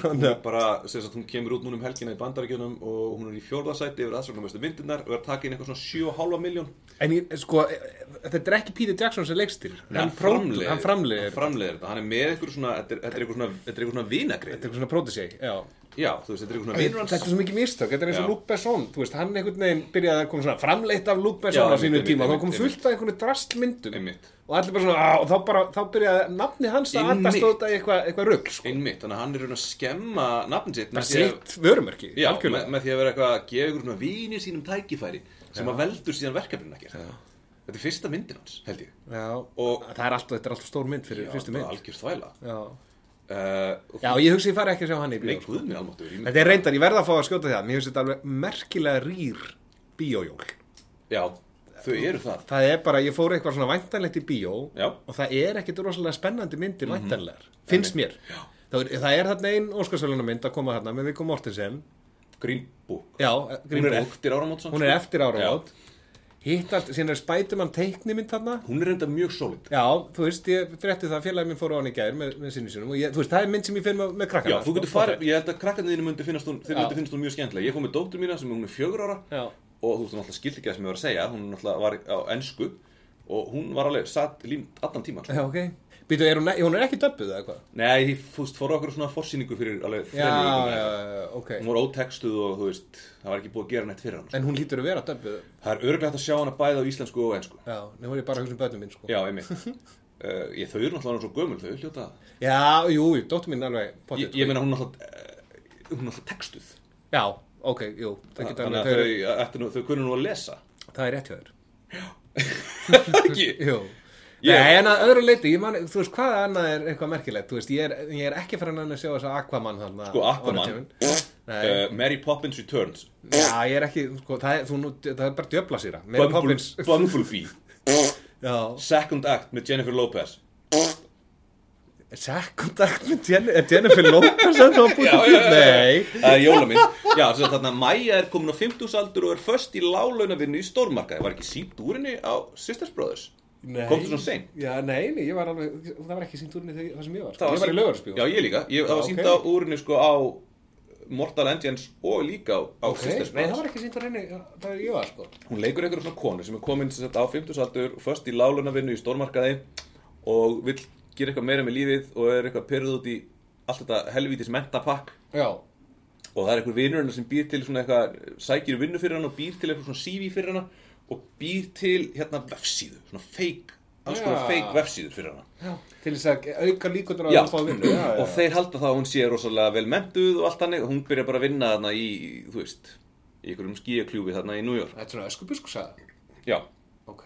Speaker 2: hún er bara sem sagt, hún kemur út núna um helgina í bandaríkjunum og hún er í fjórðasæti yfir aðsvögnarmestu myndirnar og er að taka inn eitthvað svona 7,5 miljón
Speaker 3: En ég, sko, eh, þetta er ekki Peter Jackson sem leikstýr. Hann framlegir. Hann
Speaker 2: Hann
Speaker 3: framlegir.
Speaker 2: framleiðir þetta, hann er með eitthvað svona þetta er- þetta er eitthvað svona, þetta er eitthvað svona
Speaker 3: Þetta er
Speaker 2: vinagrið
Speaker 3: eitthvað svona prótiseg, já.
Speaker 2: Já, þú veist, þetta er eitthvað svona vinur hans
Speaker 3: Þetta er svo mikið mistök, þetta er eins og
Speaker 2: Já.
Speaker 3: Luke Besson, þú veist, hann einhvern veginn byrjaði að koma svona framleitt af Luke Besson
Speaker 2: Já,
Speaker 3: á sínu
Speaker 2: einmitt,
Speaker 3: tíma, þá
Speaker 2: einmitt,
Speaker 3: kom fullt af einhvern drastmyndum
Speaker 2: Einmitt.
Speaker 3: og allir bara svona, "Á," og þá, bara, þá byrjaði nafni hans að
Speaker 2: Einmitt.
Speaker 3: alltaf stóta í eitthvað eitthva rugg, sko.
Speaker 2: Einmitt, þannig að hann er raun að skemma nafn sitt
Speaker 3: Bara
Speaker 2: með því að-
Speaker 3: sitt vörumerki,
Speaker 2: Já, með,
Speaker 3: algjörlega.
Speaker 2: með því að vera eitthvað að gefa ykkur svona vínir sínum tækifæri sem að veldur síðan verkefninu ekkert Þetta er fyrsta myndin hans, held ég
Speaker 3: Já,
Speaker 2: Og-
Speaker 3: það er alltaf, þetta er alltaf stór mynd fyrir fyrstu mynd.
Speaker 2: Algjör þvæla
Speaker 3: Já.
Speaker 2: uh,
Speaker 3: Já, ég hugsi ég fari ekki að sjá hann í
Speaker 2: Nei,
Speaker 3: bíó. sko.
Speaker 2: guð mér almáttur ég mynd-
Speaker 3: Þetta er reyndar, ég verða að fá að skjóta það, mér finnst þetta alveg merkilega rýr bíójól.
Speaker 2: Já, þau eru það
Speaker 3: Það er bara, ég fór eitthvað svona væntanlegt í bíó
Speaker 2: Já. Mhm.
Speaker 3: og það er ekkit rosalega spennandi myndir væntanlegar, finnst mér. Það er, það er þarna ein Óskarsvölunarmynd að koma þarna með Viggo Mortensen
Speaker 2: Green Book
Speaker 3: Já, eh, Green
Speaker 2: Hún er
Speaker 3: Book.
Speaker 2: eftir áramót samt,
Speaker 3: Hún er
Speaker 2: sko.
Speaker 3: eftir áramót. Hitt allt, síðan er Spiderman teiknimynd þarna.
Speaker 2: Já. Hún er enda mjög solid
Speaker 3: Já, þú veist, ég frétti það félagið minn fór á hann í gær með, með sinni sínum og ég, þú veist, það er mynd sem ég finn með, með krakkana.
Speaker 2: Já, þú getur farið, ég held að krakkarnir þínu myndi finnast hún, þeir
Speaker 3: Já.
Speaker 2: myndi finnast hún mjög skemmtilega. Ég fór með dóttur mína sem hún er fjögur ára
Speaker 3: Já.
Speaker 2: og þú veist, hún alltaf skildi ekki það sem ég var að segja, hún alltaf var á ensku og hún var alveg satt límt allan sko. tíman.
Speaker 3: Já, ok. Býtu, er hún, hún er ekki döbbuð eða hvað?
Speaker 2: Nei, þú veist, fór á okkur svona forsýningu fyrir alveg
Speaker 3: Já,
Speaker 2: þremur vikum
Speaker 3: já,
Speaker 2: eða eitthvað.
Speaker 3: já, ok.
Speaker 2: Hún var ótextuð og þú veist, það var ekki búið að gera neitt fyrir sko. hann.
Speaker 3: En hún lítur að vera döbbuð.
Speaker 2: Það er örglega hægt að sjá hana bæði á íslensku og ensku.
Speaker 3: Já, nú er ég bara að hugsa um börnum mín, sko.
Speaker 2: Já, einmitt. uh, ég, þau eru náttúrulega orðin svo gömul, þau hljóta.
Speaker 3: Já, jú, jú, dóttir mín er alveg potið.
Speaker 2: Ég, ég meina, hún er náttúrulega, uh, hún er náttúrulega textuð.
Speaker 3: Já, ok, jú, það geta
Speaker 2: Þannig að
Speaker 3: alveg, þau,
Speaker 2: þau, ættu nú- þau kunnu nú að lesa.
Speaker 3: það er rétt hjá þér.
Speaker 2: Ekki?
Speaker 3: Jú.
Speaker 2: Ég-
Speaker 3: Nei, en að öðru leiti, ég man, þú veist, hvað annað er eitthvað merkilegt, þú veist, ég er, ég er ekki farin að sjá þess að Aquaman hann.
Speaker 2: Sko, Aquaman
Speaker 3: Nei.
Speaker 2: uh, Mary Poppins Returns
Speaker 3: Já, ég er ekki, sko, það er, þú, nú, það er bara djöfla sýra. Mary
Speaker 2: Bumble,
Speaker 3: Poppins.
Speaker 2: Bumblebee
Speaker 3: Já,
Speaker 2: Second Act með Jennifer Lopez
Speaker 3: second act með Jen er Jennifer Lopez en þá búið til fyrir. Nei.
Speaker 2: Það er Eh, jóla minn Já, þess að þarna Maja er komin á 50 aldur og er först í lálaunavinnu í stórmarkaði Var ekki sínt úr henni á Sisters Brothers?
Speaker 3: nei.
Speaker 2: Komstu svona sein?
Speaker 3: Já, nei, nei, ég var alveg, það var ekki sínt úr henni þegar það sem ég var.
Speaker 2: Það
Speaker 3: Sko. Ég var í
Speaker 2: sýnt-
Speaker 3: lögurspjóð.
Speaker 2: Já, ég líka ég, Það var
Speaker 3: Já,
Speaker 2: sínt
Speaker 3: ok.
Speaker 2: á úr henni sko á Mortal Engines og líka á, á Sisters
Speaker 3: nei, það
Speaker 2: Brothers
Speaker 3: var ekki sínt úr henni þegar ég var, sko.
Speaker 2: Hún leikur einhverjum svona konu sem er komin sem sagt, á 50 aldur Först í lálaunavinnu í stórmarkaði Og vill gera eitthvað meira með lífið Og er eitthvað pyrrð út í allt þetta helvítis mentapakk
Speaker 3: Já,
Speaker 2: og það er einhver vinur hennar sem býr til svona eitthvað, sækir vinnu fyrir hann og býr til eitthvað svona CV fyrir hann og býr til hérna vefsíðu, svona fake, alls
Speaker 3: Já.
Speaker 2: konar fake vefsíður fyrir hann.
Speaker 3: já. Til þess að auka líkundur á
Speaker 2: Já,
Speaker 3: að fá vinnu. Já, já,
Speaker 2: og þeir halda það að hún sé rosalega vel mentuð og allt hannig og hún byrja bara að vinna þarna í, þú veist, í einhverjum skíakljúfi þarna í New York.
Speaker 3: Þetta er svona öskubisku sagði.
Speaker 2: Já,
Speaker 3: Ok.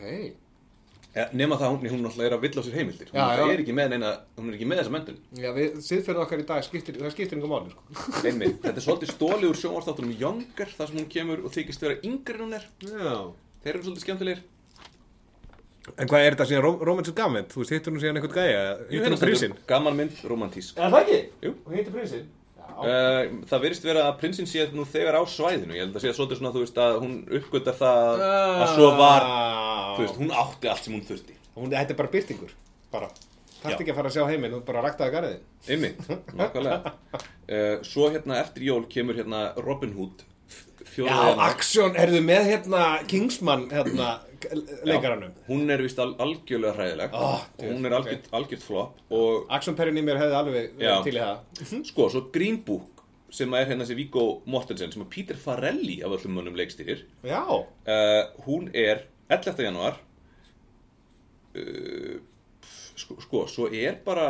Speaker 2: ja, nema það að hún, hún náttúrulega er að villa á sér heimildir, hún
Speaker 3: Já,
Speaker 2: náttúrulega
Speaker 3: já.
Speaker 2: er ekki með neina, hún er ekki með þessa mentun.
Speaker 3: Já, við siðferðum okkar í dag, skiptir, það skiptir einhver máli, sko.
Speaker 2: Einmitt, þetta er svolítið stólið úr sjónvarstáttunum Younger, þar sem hún kemur og þykist vera yngri en hún er.
Speaker 3: Já.
Speaker 2: Þeir eru svolítið skemmtilegir.
Speaker 3: En hvað er þetta síðan ró romantisk gammend? Þú veist, hittur hún síðan einhvern gæja? Hittur hún prinsinn?
Speaker 2: Gaman mynd, romantísk.
Speaker 3: Er það ekki?
Speaker 2: Jú.
Speaker 3: Hún hittir prinsinn? Já.
Speaker 2: Uh, það verist vera að prinsinn sé nú þegar á svæðinu, ég held að sé svolítið svona, þú veist, að hún uppgötar það að svo
Speaker 3: Ah.
Speaker 2: var, þú veist, hún átti allt sem hún þurfti.
Speaker 3: Hún, þetta er bara byrtingur. Bara.
Speaker 2: Já.
Speaker 3: Þarft ekki að fara að sjá heiminn, hún bara raktaði garðin.
Speaker 2: Einmitt, nákvæmlega. Uh, svo hérna eftir jól kemur hérna Robin Hood,
Speaker 3: Já,
Speaker 2: fjóraðina.
Speaker 3: Aksjón, erðu með hérna Kingsman, hérna, leikaranum.
Speaker 2: Hún er vist al algjörlega hræðileg,
Speaker 3: Ah,
Speaker 2: Og hún er algjört, algjört flop og
Speaker 3: Aksjón Perrin í mér hefði alveg
Speaker 2: Já.
Speaker 3: verið til í það.
Speaker 2: sko, svo Green Book sem að er hérna þessi Viggo Mortensen sem að Peter Farrelly af öllum mönnum leikstýrir.
Speaker 3: Já.
Speaker 2: uh, hún er 11. januar uh, sko, sko, svo er bara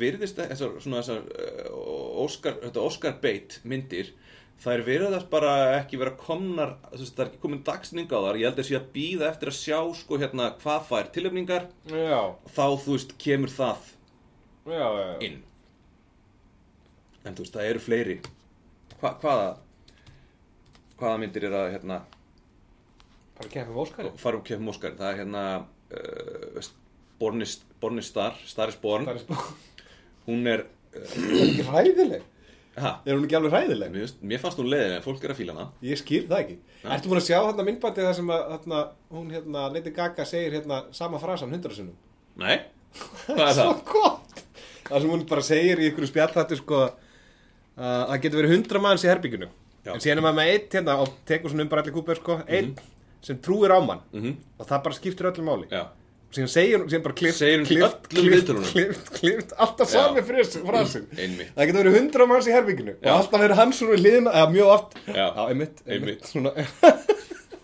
Speaker 2: virðist þessar, svona þessar uh, Oscar, þetta Oscar bait myndir það er verið að bara ekki vera komnar þess, það er ekki komin dagsning á þar ég held að sé að býða eftir að sjá sko, hérna, hvað fær tilöfningar
Speaker 3: Já.
Speaker 2: þá þú veist kemur það
Speaker 3: Já, já, já.
Speaker 2: inn en þú veist það eru fleiri Hva, hvaða hvaða myndir er að hérna,
Speaker 3: Bara kemur Óskari.
Speaker 2: fara um kemum Óskar það er hérna uh, Bornist, Bornistar, Staris Born
Speaker 3: Það er spá-
Speaker 2: hún er
Speaker 3: Er hún ekki hræðileg.
Speaker 2: ha,
Speaker 3: Er hún ekki alveg hræðileg?
Speaker 2: mér, finnst- mér fannst hún leiðin en fólk er að fíla hana
Speaker 3: Ég skil það ekki. Ertu búin að sjá hérna myndbandið þar sem að hérna, hún hérna, Lady Gaga segir hérna sama frasan hundra sinnum?
Speaker 2: nei, hvað er
Speaker 3: Svo
Speaker 2: það?
Speaker 3: gott! Það sem hún bara segir í ykkur spjallhættu sko að að það getur verið hundra manns í herbygginu.
Speaker 2: Já.
Speaker 3: En síðan er maður með eitt hérna og tekur svona um bara allir kúpið sko, einn sem trúir á mann -hmm. og það bara skiptir öllu máli.
Speaker 2: já,
Speaker 3: Síðan segir hún, síðan bara klift,
Speaker 2: Segir hún
Speaker 3: klift,
Speaker 2: öllum
Speaker 3: klift,
Speaker 2: viðtölunum.
Speaker 3: klift, klift, alltaf
Speaker 2: Já. Mm,
Speaker 3: sami fris- frasin.
Speaker 2: einmitt.
Speaker 3: Það getur verið hundra manns í herbygginu
Speaker 2: Já.
Speaker 3: og alltaf verið hans úr liðina, eða mjög oft,
Speaker 2: Já.
Speaker 3: einmitt, einmitt,
Speaker 2: Einmitt.
Speaker 3: svona,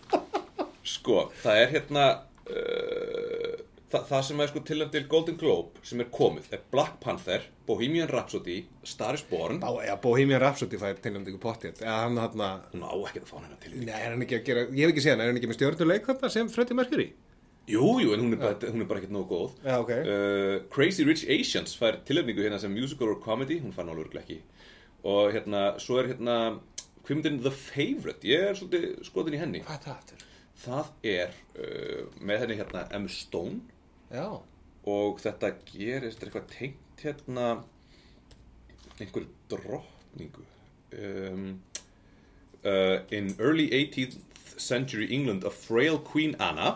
Speaker 2: sko, það er hérna uh, það, það sem er sko tilnæmt til Golden Globe sem er komið er Black Panther, Bohemian Rhapsody Staris Born,
Speaker 3: Bá, já, Bohemian Rhapsody fær tilnæmt ykkur pottið, eða hann hérna,
Speaker 2: hún á ekki að fá hennar til því.
Speaker 3: Nei, er hann ekki að gera, ég hef ekki séð hann, er hann ekki með stjórnuleik þarna sem Freddie Mercury?
Speaker 2: jú, jú, en hún er bara, hún er bara ekkert nógu góð
Speaker 3: Já, ok.
Speaker 2: uh, Crazy Rich Asians fær tilöfningu hérna sem musical or comedy, hún fær nálega örugglega ekki og hérna, svo er hérna kvimdin The Favourite, ég er svolítið skotin í henni
Speaker 3: Hvað er það aftur?
Speaker 2: það er uh, með henni hérna Emma Stone
Speaker 3: Já.
Speaker 2: og þetta gerist er eitthvað tengt hérna einhverju drottningu um, uh, in early 18th century England, a frail Queen Anna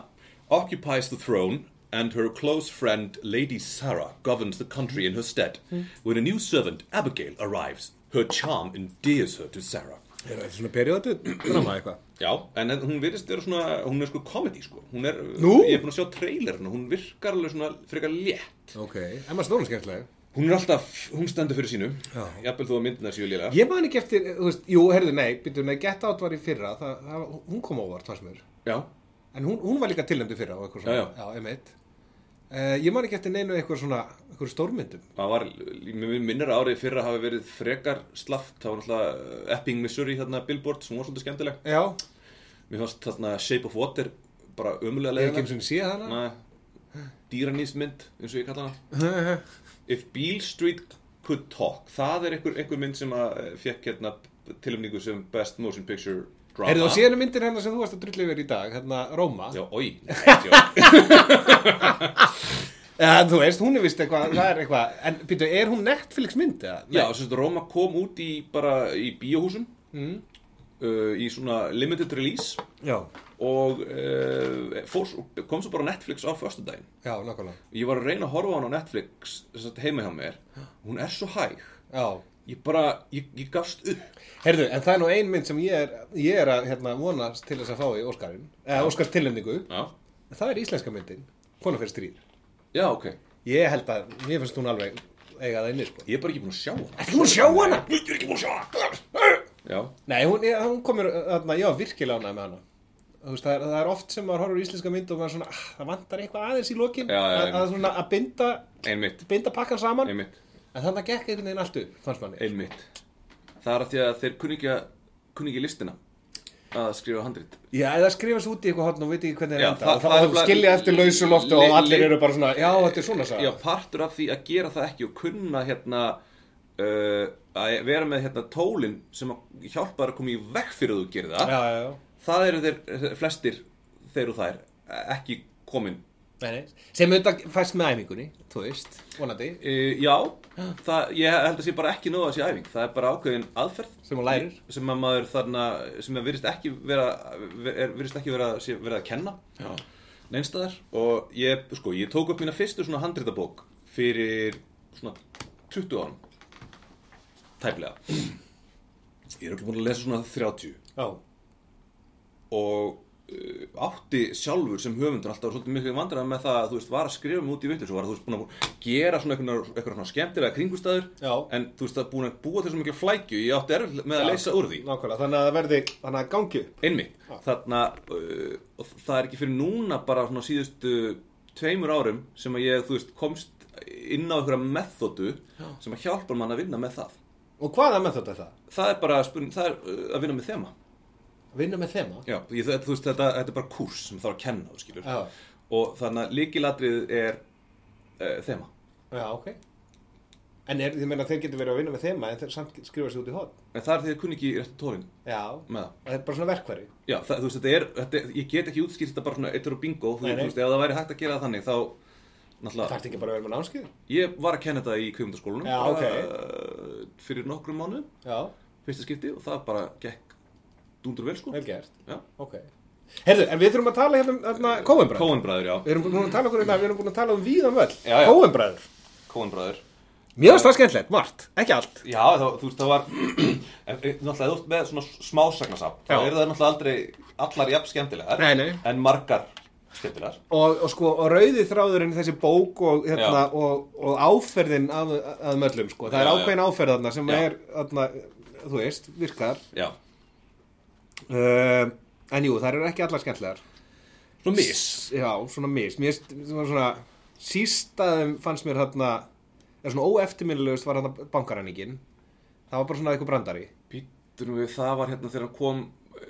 Speaker 2: occupies the throne, and her close friend Lady Sarah governs the country in her stead. When a new servant, Abigail, arrives, her charm endears her to Sarah.
Speaker 3: Er þetta svona periódu drama eitthvað?
Speaker 2: Já, en en hún virðist vera svona, hún er sko komedi sko, hún er,
Speaker 3: Nú?
Speaker 2: ég er búin að sjá trailerinu, hún virkar alveg svona frekar létt.
Speaker 3: Ok, en maður stóðum skemmtilega.
Speaker 2: Hún er alltaf, hún stendur fyrir sínu,
Speaker 3: Já.
Speaker 2: jafnvel þú að myndina séu lélega.
Speaker 3: Ég man ekki eftir, þú veist, jú, herðu, nei, byrju, nei, Get Out var í fyrra, það, það, hún kom á óvart, fannst mér.
Speaker 2: Já,
Speaker 3: En hún, hún var líka tilnæmdu fyrra og eitthvað svona.
Speaker 2: Já, já.
Speaker 3: já einmitt. Uh, ég man ekki eftir neinu eitthvað svona, eitthvað stórmyndum.
Speaker 2: það var, mér minnir að árið fyrir að hafi verið frekar slaft, það var náttúrulega Epping, Missouri, þarna Billboard, sem var svolítið skemmtileg.
Speaker 3: Já,
Speaker 2: Mér fannst þarna Shape of Water, bara ömulega
Speaker 3: ég hef
Speaker 2: leiðina.
Speaker 3: ekki eins og sé hana.
Speaker 2: Nei, dýranýsmynd, eins og ég kalla hana. If Beale Street Could Talk það er einhver, einhver mynd sem að eh, fékk hérna tilumningu sem Best Motion Picture Drama
Speaker 3: Herðu, og síðan er myndir hennar sem þú varst að drulla yfir í dag, hérna Róma.
Speaker 2: Já, oi, nei, tjók.
Speaker 3: Já, þú veist, hún er vist eitthvað, það er eitthvað, en byrju, er hún Netflix mynd eða?
Speaker 2: Já, sem sagt, Róma kom út í bara í bíóhúsum uh, í svona limited release
Speaker 3: Já,
Speaker 2: og uh, fór, svo- kom svo bara á Netflix á föstudaginn
Speaker 3: já, nákvæmlega.
Speaker 2: ég var að reyna að horfa á hann á Netflix sem sagt, heima hjá mér, hún er svo hæg
Speaker 3: Já.
Speaker 2: ég bara, ég, ég gafst upp
Speaker 3: Herðu, en það er nú ein mynd sem ég er, ég er að hérna, vonast til þess að fá í Óskarinn, eða Óskars tilnefningu,
Speaker 2: Já,
Speaker 3: það er íslenska myndin, Kona fyrir stríð.
Speaker 2: já ok ég
Speaker 3: Ég held að, mér finnst hún alveg eiga það inni, sko.
Speaker 2: er bara ekki búin að sjá hann
Speaker 3: Ekki múin sjá hana?
Speaker 2: Ég er ekki búin að sjá hann Já,
Speaker 3: Nei, hún, ég, hún komur, uh, þarna, já, virkilega ánæg með hana. Þú veist, það er, það er oft sem maður horfur íslenska mynd og maður svona, ah, það vantar eitthvað aðeins í lokin,
Speaker 2: Já, já,
Speaker 3: að, að svona að binda,
Speaker 2: einmitt
Speaker 3: binda pakkan saman,
Speaker 2: Einmitt,
Speaker 3: en þannig að gekk einhvern veginn allt upp, fannst manni.
Speaker 2: einmitt. Það er að því að þeir kunni ekki, að- kunni ekki listina að skrifa handrit.
Speaker 3: Já, eða skrifa svo út í eitthvað hotn og veit ekki hvernig
Speaker 2: Já,
Speaker 3: það enda
Speaker 2: það-
Speaker 3: og
Speaker 2: það er
Speaker 3: þá
Speaker 2: bara-
Speaker 3: skilja eftir lausu lofti og
Speaker 2: Li-
Speaker 3: allir
Speaker 2: li-
Speaker 3: eru bara svona, já, þetta er svona saga.
Speaker 2: Já, partur af því að gera það ekki og kunna hérna uh, að vera með hérna tólin sem að hjálpa þér að koma í vekk fyrir að þú gerir það.
Speaker 3: já, já, já.
Speaker 2: Það eru þeir flestir þeir og þær e, ekki komin.
Speaker 3: Nei, nei. sem auðvitað fæst með æfingunni, þú veist, vonandi,
Speaker 2: Uh, já, það, ég held að sé bara ekki nóða þessi æfing. Það er bara ákveðin aðferð.
Speaker 3: sem hún lærir.
Speaker 2: sem að maður þarna sem að virðist ekki vera er, virðist ekki vera, sé- vera að kenna Já. neinstæðar og ég, sko, ég tók upp mína fyrstu svona handritabók fyrir svona 20 árum tæplega ég er ekki búin að lesa svona 30
Speaker 3: Já,
Speaker 2: og uh, átti sjálfur sem höfundur alltaf svolítið miklu vandræðan með það að þú veist var að skrifa mig út í vittur svo var að þú veist búin að gera svona eitthvað, eitthvað svona skemmtilega kringustæður
Speaker 3: Já.
Speaker 2: en þú veist að búin að búa til svo miklu flækju ég átti erfitt með að
Speaker 3: Já.
Speaker 2: leysa úr því
Speaker 3: nákvæmlega, þannig að það verði, þannig að gangi upp.
Speaker 2: Einmitt, þarna uh, og það er ekki fyrir núna bara svona síðustu tveimur árum sem að ég, þú veist, komst inn á einhverja methodu sem að hjálpa mann að vinna með það.
Speaker 3: Og hvaða með þetta er það?
Speaker 2: Það er bara spurning, það er uh, að vinna með þema.
Speaker 3: Vinna með þema?
Speaker 2: Já, ég, þetta- þú veist, þetta, þetta er bara kurs sem þarf að kenna, þú skilur.
Speaker 3: Já.
Speaker 2: Og þannig að líkilatriðið er uh, þema.
Speaker 3: Já, ok. En er, ég meina, þeir getur verið að vinna með þema en þeir samt skrifa sér út í hotn.
Speaker 2: En það er því að kunni ekki réttu tólin
Speaker 3: Já,
Speaker 2: með það.
Speaker 3: það er bara svona verkværi.
Speaker 2: Já, það, þú veist, þetta er, þetta, er- ég get ekki útskýrt þetta bara svona eittur og bingo, þú,
Speaker 3: Nei, nei.
Speaker 2: þú veist, ef það væri hægt að gera það þannig, þá,
Speaker 3: Það
Speaker 2: náttúrulega,
Speaker 3: þarf ekki bara að vera með námskið.
Speaker 2: Ég var að kenna þetta í kvikmyndaskólanum
Speaker 3: Já,
Speaker 2: uh, fyrir nokkrum mánuðum,
Speaker 3: Já,
Speaker 2: fyrsta skipti og það bara gekk dúndur vel sko.
Speaker 3: vel gert.
Speaker 2: Já.
Speaker 3: Ok. Herðu, en við þurfum að tala hérna um hérna, Kóenbræður.
Speaker 2: Coen bræður, já.
Speaker 3: Við erum búin að tala okkur hérna, við erum búin að tala um
Speaker 2: Já,
Speaker 3: víðan völl.
Speaker 2: já.
Speaker 3: Kóenbræður.
Speaker 2: Coen bræður.
Speaker 3: Mér finnst það skemmtilegt, margt, ekki allt.
Speaker 2: Já, þá, þú veist, það var, en, e, náttúrulega, þú veist, með svona smásagnasafn, þá
Speaker 3: Já.
Speaker 2: eru það náttúrulega aldrei allar jafn skemmtilegar,
Speaker 3: Nei, nei.
Speaker 2: en margar skemmtilegar.
Speaker 3: Og, og sko, og rauði þráðurinn þessi bók og, hérna,
Speaker 2: Já.
Speaker 3: og, og áferðin að, að möllum, sko. Það
Speaker 2: Já,
Speaker 3: er
Speaker 2: já.
Speaker 3: ákveðin áferð þarna sem
Speaker 2: Já.
Speaker 3: er, þarna, þú veist, virkar.
Speaker 2: Já.
Speaker 3: Uh, en jú, það eru ekki allar skemmtilegar.
Speaker 2: Svona mis.
Speaker 3: Já, svona mist. Mér finnst- það var svona, sístaðum fannst mér þarna, eða svona óeftirminnilegust var þarna bankaræningin. Það var bara svona eitthvað brandari.
Speaker 2: Býtunum við, það var hérna þegar hann kom,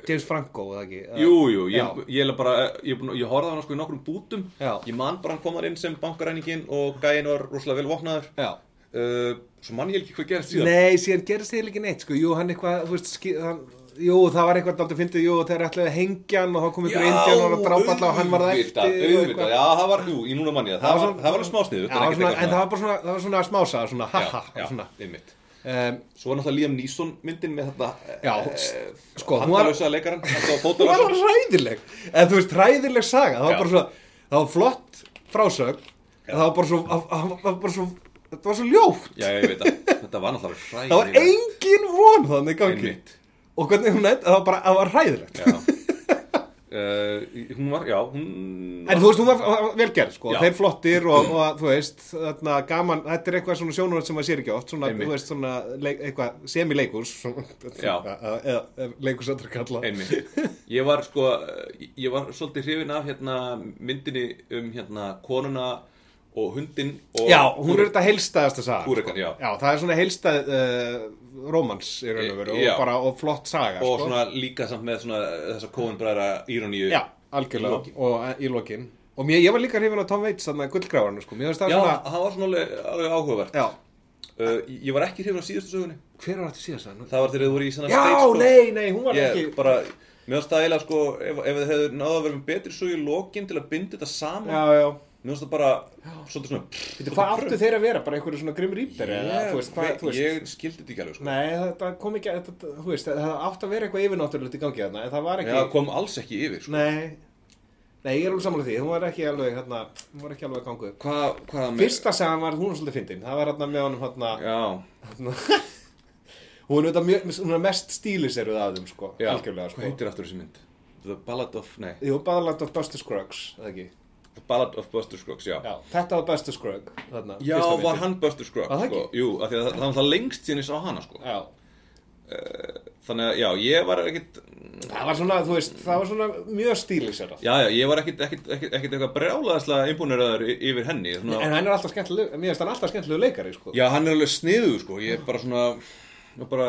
Speaker 3: James Franco, eða ekki? Eða-
Speaker 2: jú, jú,
Speaker 3: Já.
Speaker 2: ég, ég er bara, ég, er búinn að- ég horfði á hann sko í nokkrum bútum,
Speaker 3: Já.
Speaker 2: ég man bara hann kom þar inn sem bankaræningin og gæin var rosalega vel vopnaður.
Speaker 3: Já.
Speaker 2: uh, svo mann ég ekki hvað gerist síðan
Speaker 3: Nei, síðan gerist þeir ekki neitt, sko, jú, hann eitthvað, þú veist, skið, hann, jú, það var eitthvað aldrei fyndið, jú, þeir ætlaði að hengja hann og þá kom ykkur indjan og drápa alltaf og hann var það eftir
Speaker 2: auðvitað,
Speaker 3: og
Speaker 2: auðvitað,
Speaker 3: eitthvað.
Speaker 2: já, það var, jú, í núna manni það, það var, það var smásniðu
Speaker 3: Já, svona, en það var bara svona, það var svona smá saga, svona, ha, ha,
Speaker 2: já,
Speaker 3: svona,
Speaker 2: einmitt
Speaker 3: um,
Speaker 2: Svo er náttúrulega Liam Neeson myndin með þetta eh,
Speaker 3: Já, sko, hún var-
Speaker 2: Handalösa leikarann, þetta var
Speaker 3: hún var
Speaker 2: fótalösa
Speaker 3: ræðileg en þú veist, ræðileg saga það var
Speaker 2: Já.
Speaker 3: bara svo, það var flott frásögn en það var bara svo, það- það var bara svo þetta var svo ljótt
Speaker 2: Já, ég veit að þetta var náttúrulega ræðilega
Speaker 3: það var engin von þannig í gangi
Speaker 2: Einmitt.
Speaker 3: og hvernig hún enda, það var bara, það var ræðilegt
Speaker 2: Já uh, Hún var, já, hún
Speaker 3: En þú veist, hún var- hún var velgerð, sko,
Speaker 2: Já.
Speaker 3: þeir flottir og, og þú veist, þarna gaman, þetta er eitthvað svona sjónurinn sem maður sér ekki oft, svona,
Speaker 2: Einmitt.
Speaker 3: þú veist, svona, leik, eitthvað semileikurs, svona,
Speaker 2: Já.
Speaker 3: eða eða leikurs öllur kalla.
Speaker 2: Einmitt. Ég var sko, eh, ég var svolítið hrifin af hérna myndinni um hérna konuna og hundin og
Speaker 3: Já, hún er þetta heilstæðasta saga.
Speaker 2: Kúrekan, já.
Speaker 3: sko. það er svona heilstæð uh, romans í raun og veru
Speaker 2: E, Já.
Speaker 3: og bara, og flott saga,
Speaker 2: Og
Speaker 3: sko.
Speaker 2: svona líka samt með svona eh, þessa kóinbræðra íroníu
Speaker 3: Já,
Speaker 2: Í
Speaker 3: algjörlega,
Speaker 2: lokin.
Speaker 3: og eh, í lokin. Og mér, ég var líka hrifin á Tom Waits, þannig að gullgráðarnu, sko, mér finnst það
Speaker 2: Já,
Speaker 3: svona,
Speaker 2: það var svona alveg, alveg áhugavert
Speaker 3: já,
Speaker 2: uh, Ég var ekki hrifin á síðustu sögunni
Speaker 3: hver var þetta síðast það?
Speaker 2: Það var þegar þau voru í svona
Speaker 3: Já,
Speaker 2: stage, sko.
Speaker 3: nei, nei, hún var
Speaker 2: Ég
Speaker 3: ekki,
Speaker 2: bara, mér finnst það eiginlega sko Ef, ef þið hefðu náðu að vera með betri sögu í lokin til að binda þetta saman
Speaker 3: já, já.
Speaker 2: Mér finnst það bara, svolítið svona pff,
Speaker 3: Hvað áttu þeir að vera? Bara einhverju svona Grim Reaper eða,
Speaker 2: Ég,
Speaker 3: þú veist, hvað, þú veist
Speaker 2: ég skildi þetta ekki alveg sko
Speaker 3: Nei, þetta kom ekki, þetta, þú veist, það átti að vera eitthvað yfirnáttúrulegt í gangi þarna, en það var
Speaker 2: Já,
Speaker 3: ekki
Speaker 2: það kom alls ekki yfir sko.
Speaker 3: Nei, nei, ég er alveg sammála því, hún var ekki alveg, hérna, hún var ekki alveg að gangu upp
Speaker 2: Hva, Hvað með
Speaker 3: Fyrsta sem var, hún var svolítið fyndin, það var hérna með honum, hérna,
Speaker 2: Já,
Speaker 3: hérna Hún er auðvitað mjög, hún er mest stílis eruð að þeim, sko,
Speaker 2: já.
Speaker 3: algjörlega,
Speaker 2: Hvað
Speaker 3: sko
Speaker 2: heitir aftur þessi mynd? The Ballad of, nei
Speaker 3: Jú, Badland of Buster Scruggs, eða ekki
Speaker 2: The Ballad of Buster Scruggs, já
Speaker 3: Já, þetta var Buster Scrugg, þarna
Speaker 2: Já,
Speaker 3: fyrsta
Speaker 2: var
Speaker 3: myndin.
Speaker 2: hann Buster Scruggs
Speaker 3: Var það
Speaker 2: sko. Jú, af því að það, það var alltaf lengst síðan ég sá hana sko.
Speaker 3: Já,
Speaker 2: Þannig að, já, ég var ekkit
Speaker 3: það var svona, þú veist, það var svona mjög stílis
Speaker 2: Já, já, ég var ekkit, ekkit, ekkit, ekkit eitthvað brjálaðislega einbúniröður yfir henni svona,
Speaker 3: En hann er alltaf skemmtilegu, mér finnst hann alltaf skemmtilegu leikari, sko.
Speaker 2: Já, hann er alveg sniðu, sko Ég er bara svona ég bara,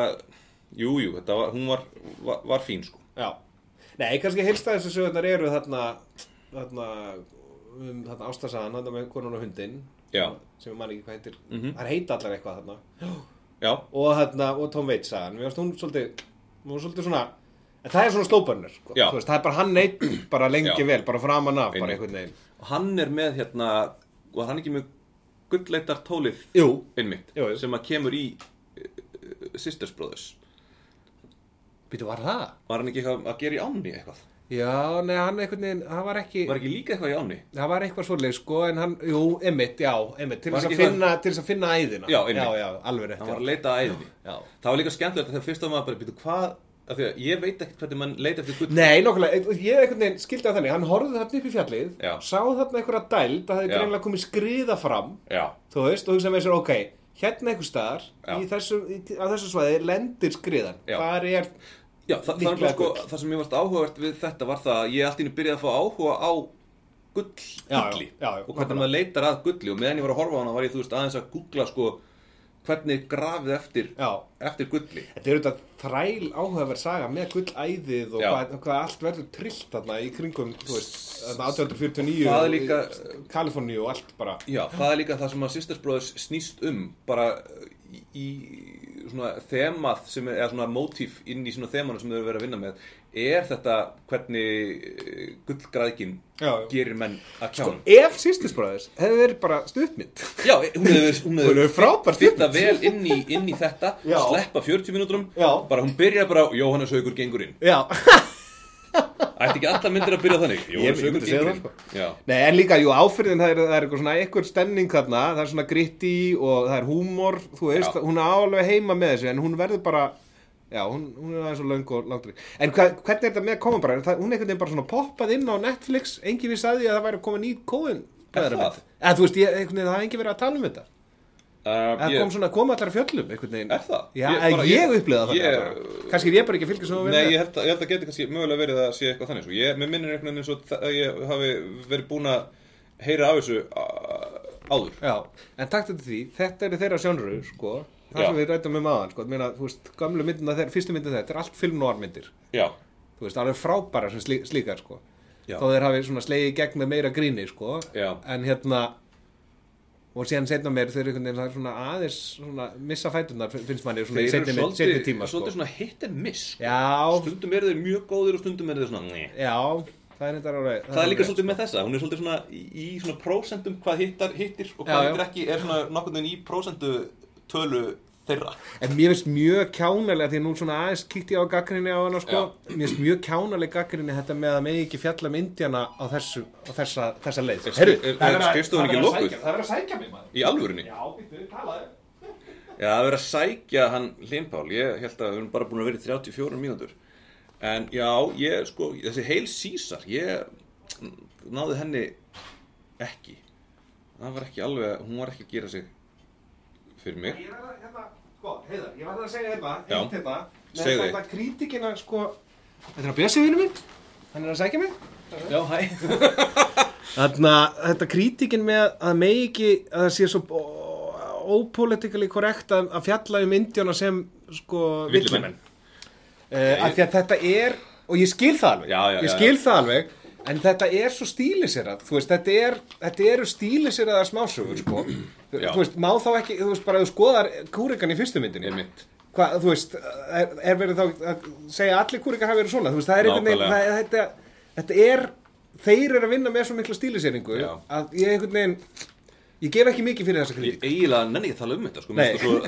Speaker 2: Jú, jú, þetta var, hún var, var, var fín, sko
Speaker 3: Já. Nei, kannski heilstæðis og sögurnar eru þarna, þarna, um, þarna ástasaðan, þarna með konan og hundinn,
Speaker 2: Já,
Speaker 3: sem ég man ekki hvað heitir. Mm
Speaker 2: Mhm.
Speaker 3: -hmm. Það heita allar eitthvað þarna.
Speaker 2: já,
Speaker 3: Og þarna, og Tom Waits sagan. Mér finnst hún svolítið, hún var svolítið svona, en það er svona slóparnir, sko.
Speaker 2: Já.
Speaker 3: Þú Veist, það er bara hann neitt, bara lengi
Speaker 2: Já.
Speaker 3: vel, bara framan af, bara
Speaker 2: Einmitt.
Speaker 3: einhvern veginn.
Speaker 2: hann er með hérna var hann ekki með gullleitar tólið
Speaker 3: Jú.
Speaker 2: einmitt,
Speaker 3: Jú, jú.
Speaker 2: sem að kemur í uh, Sisters Brothers
Speaker 3: Býtu, var það?
Speaker 2: var hann ekki eitthvað að gera í ánni eitthvað
Speaker 3: Já, nei, hann einhvern veginn, það var ekki...
Speaker 2: var ekki líka eitthvað í ánni
Speaker 3: Það var eitthvað svolítið sko, en hann, jú, emmitt, já, emmitt, til
Speaker 2: Var
Speaker 3: þess að
Speaker 2: ekki hvað-
Speaker 3: finna, til þess að finna æðina.
Speaker 2: Já, einmitt.
Speaker 3: Já, já, alveg rétt.
Speaker 2: hann var
Speaker 3: já.
Speaker 2: að leita að æðinni
Speaker 3: Já.
Speaker 2: það var líka skemmtilegt þegar fyrst að maður bara býtu hvað af því að ég veit ekkert hvernig mann leita eftir gull
Speaker 3: Nei, nokkulega, ég einhvern veginn skildi að þannig, hann horfði þarna upp í fjallið,
Speaker 2: Já.
Speaker 3: sá þarna einhverja dæld, það hefði
Speaker 2: Já.
Speaker 3: greinlega komið skriða fram,
Speaker 2: já,
Speaker 3: þú veist, og hugsaði með sér, ok, hérna einhver staðar,
Speaker 2: Já.
Speaker 3: í þessu, í, á þessu svæði, lendir skriðan,
Speaker 2: Já.
Speaker 3: þar er,
Speaker 2: já það, það,
Speaker 3: Líklega
Speaker 2: var sko,
Speaker 3: gull.
Speaker 2: það sem ég varst áhugavert við þetta var það að ég allt í einu byrjaði að fá áhuga á gull,
Speaker 3: Já,
Speaker 2: gulli
Speaker 3: já, já, já,
Speaker 2: og hvernig maður leitar að gulli og meðan ég var að horfa á hana var ég þú veist aðeins að googla sko hvernig grafið eftir
Speaker 3: já,
Speaker 2: eftir gulli
Speaker 3: þetta er auðvitað þræl áhugaverð saga með gullæðið og
Speaker 2: Já.
Speaker 3: hvað, hvað allt verður trillt þarna í kringum, þú veist, þarna 1849
Speaker 2: Það er
Speaker 3: og í
Speaker 2: líka-
Speaker 3: Kaliforníu og allt bara.
Speaker 2: Já, það er líka það sem að Sisters Brothers snýst um bara í, í svona þemað sem er eða svona mótíf inn í svona þemanu sem þau eru verið að vinna með er þetta hvernig eh, gullgræðgin
Speaker 3: Já, Sko, já.
Speaker 2: gerir menn að kjánum
Speaker 3: Ef Sistusbræðis hefði verið bara stuttmynd,
Speaker 2: Já, eh, hún hefur hún
Speaker 3: Hún
Speaker 2: hefur
Speaker 3: hefur frábær
Speaker 2: fitta
Speaker 3: stuttmynd.
Speaker 2: vel inn í, inn í þetta
Speaker 3: Já.
Speaker 2: sleppa 40 mínúturum
Speaker 3: Já.
Speaker 2: bara hún byrja bara á Jóhannes Haugur gengur inn
Speaker 3: já.
Speaker 2: Ætti ekki alltaf myndir að byrja þannig Jóhannes
Speaker 3: myndi
Speaker 2: Haugur
Speaker 3: segja
Speaker 2: gengur
Speaker 3: það,
Speaker 2: inn
Speaker 3: sko.
Speaker 2: Já,
Speaker 3: Nei, en líka, jú, áfyrðin, það er, það er eitthvað svona eitthvað stemning þarna, það er svona gritti og það er húmor, þú veist,
Speaker 2: Já.
Speaker 3: hún er alveg heima með þessu, en hún verður bara, já, hún, hún er aðeins og löng og langtri. En hva, hvernig er þetta með koma bara, það, hún er einhvern veginn bara svona poppað inn á Netflix, engin vissi að því að það væri að koma nýr kóðin.
Speaker 2: Er það?
Speaker 3: Eða, þú veist, ég, einhvern veginn, það hafði engin verið að tala um þetta.
Speaker 2: uh,
Speaker 3: Það
Speaker 2: ég-
Speaker 3: kom svona, kom allar af fjöllum, einhvern veginn.
Speaker 2: Er það?
Speaker 3: Já,
Speaker 2: Ég
Speaker 3: ég,
Speaker 2: bara-
Speaker 3: ég,
Speaker 2: ég-
Speaker 3: upplifði það
Speaker 2: ég-
Speaker 3: þannig. Kannski er ég bara ekki að fylgja svo vel
Speaker 2: Nei,
Speaker 3: með.
Speaker 2: ég held, að, ég held að geti kannski mögulega verið að sé eitthvað þannig svo. Ég, mér minnir einhvern veginn eins og það- að ég hafi verið búin að heyra af þessu a- áður
Speaker 3: Já, en takt eftir því, þetta eru þeirra sjónru, sko, það
Speaker 2: Já.
Speaker 3: sem við rættum um aðan, sko, ég meina, þú veist, gamlu myndina, þeir, fyrstu myndina þetta er allt filmnóarmyndir,
Speaker 2: Já,
Speaker 3: þú veist, alveg frábæra sem slí, slíkar, sko,
Speaker 2: Já.
Speaker 3: þó þeir hafi svona slegið í gegn með meira gríni, sko,
Speaker 2: Já.
Speaker 3: en hérna, og síðan setna meir, þeir eru einhvern veginn það er svona aðeins, svona, missa fæturnar, finnst manni, svona í setni, mynd- setni tíma, sko.
Speaker 2: svolítið svona hit and miss sko.
Speaker 3: Já,
Speaker 2: Stundum eru þeir mjög góðir og stundum eru þeir svona nei.
Speaker 3: já, það er sko. þetta alveg.
Speaker 2: Það er líka
Speaker 3: alveg-
Speaker 2: svolítið með þessa, hún er svolítið svona í, í svona prósentum hvað hittar, hittir og
Speaker 3: Já,
Speaker 2: hvað
Speaker 3: já.
Speaker 2: hittir ekki er svona nokkurn veginn í prósentu tölu þeirra
Speaker 3: En mér finnst mjög kjánalega, því að nú svona aðeins kíkti ég á gaggrinni á hana sko, mér finnst mjög kjánalega gaggrinni þetta með að megi ekki fjalla um Indiana á, þessu, á þessa, þessa leið.
Speaker 2: Er- er- er- skrifstofan ekki lokuð?
Speaker 3: Það verður að sækja mig maður.
Speaker 2: í alvörunni
Speaker 3: Já, býttu, talaðu.
Speaker 2: Já, það er verið að sækja hann Limpál, ég held að við erum bara búin að vera í 34 mínútur En já, ég sko, þessi heil Caesar, ég náði henni ekki Það var ekki alveg, hún var ekki að gera sig fyrir mig
Speaker 3: Ég verða hérna, sko, heiðar, ég verða að segja hérna,
Speaker 2: Já.
Speaker 3: eitt hérna, með
Speaker 2: Segðu.
Speaker 3: þetta krítikina, sko, þetta er að bjösi vinnu minn, hann er að sækja mig. Já, hæ. Þarna, þetta krítikin með að megi ekki, að það sé svo ópolitikali korrekt að, að fjalla um Indíana sem, sko, villimenn.
Speaker 2: Villimenn.
Speaker 3: Uh, af því að þetta er, og ég skil það alveg,
Speaker 2: Já, já,
Speaker 3: ég
Speaker 2: já,
Speaker 3: skil
Speaker 2: já.
Speaker 3: það alveg, en þetta er svo stílisirað, þú veist, þetta, er, þetta eru stílisiraðar smásögur, sko. Þú-
Speaker 2: Já.
Speaker 3: þú veist, má þá ekki, þú veist, bara ef þú skoðar kúrikan í fyrstu myndinni.
Speaker 2: Einmitt.
Speaker 3: Hvað, þú veist, er, er verið þá að segja að allir kúrikar hafi verið svona, þú veist, það er einhvern veginn,
Speaker 2: Nákvæmlega.
Speaker 3: það, þetta, þetta er, þeir eru að vinna með svo mikla stíliseringu
Speaker 2: Já.
Speaker 3: að ég einhvern veginn, ég gef ekki mikið fyrir þessa
Speaker 2: Ég
Speaker 3: kritík.
Speaker 2: eiginlega nenni ekki að tala um þetta, sko,
Speaker 3: Nei.
Speaker 2: mér sko,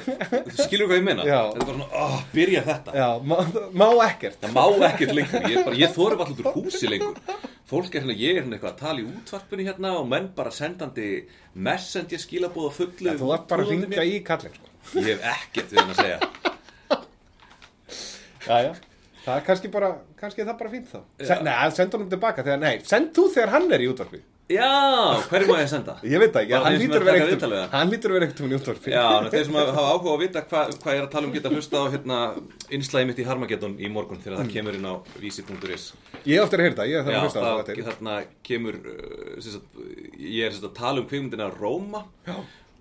Speaker 2: svo, skilur hvað ég meina
Speaker 3: Já.
Speaker 2: Þetta er bara svona, ah, byrja þetta
Speaker 3: Já, má, má ekkert.
Speaker 2: Það má ekkert lengur, ég, er bara, ég þorði alltaf út úr húsi lengur Fólk er hérna, ég er hérna eitthvað að tala í útvarpinu hérna og menn bara sendandi messenger skilabóð og fullu
Speaker 3: Þú vart bara að
Speaker 2: trúðandi
Speaker 3: ringa
Speaker 2: mér.
Speaker 3: í kallin, sko.
Speaker 2: Ég hef ekkert við hann að segja
Speaker 3: Já, já. Það er kannski bara, kannski er það bara fínt þá. Se,
Speaker 2: Já.
Speaker 3: nei, senda honum tilbaka þegar, nei, send þú þegar hann er í útvarpi.
Speaker 2: Já, hverju má ég senda?
Speaker 3: Ég veit það ekki,
Speaker 2: Bara
Speaker 3: hann
Speaker 2: þeir sem
Speaker 3: lítur
Speaker 2: eru
Speaker 3: að vera
Speaker 2: að taka
Speaker 3: ekkert
Speaker 2: viðtalið það?
Speaker 3: hann lítur að vera ekkert um í útvarpi.
Speaker 2: Já, ná, þeir sem hafa áhuga á að vita hvað hva ég er að tala um geta hlusta á hérna, innslæði mitt í Harmageddon í morgun þegar það kemur inn á vísi.is
Speaker 3: Ég hef aldrei að heyrta, ég hef það
Speaker 2: Já,
Speaker 3: að hlusta Mm. á
Speaker 2: það,
Speaker 3: þetta. til.
Speaker 2: þarna kemur uh, sem sagt, ég er sem sagt, að tala um kvikmyndina Róma Já.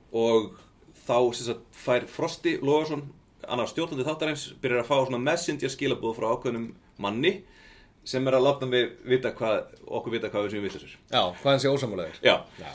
Speaker 2: og þá sem sagt, fær Frosti Lóðarsson annar stjórnandi þáttarins byrjar að fá svona messenger skilabúð frá ákveðnum manni sem er að láta mig vita hvað, okkur vita hvað við séum villisir
Speaker 3: Já, hvað hann sé ósamálaður.
Speaker 2: Já,
Speaker 3: Já.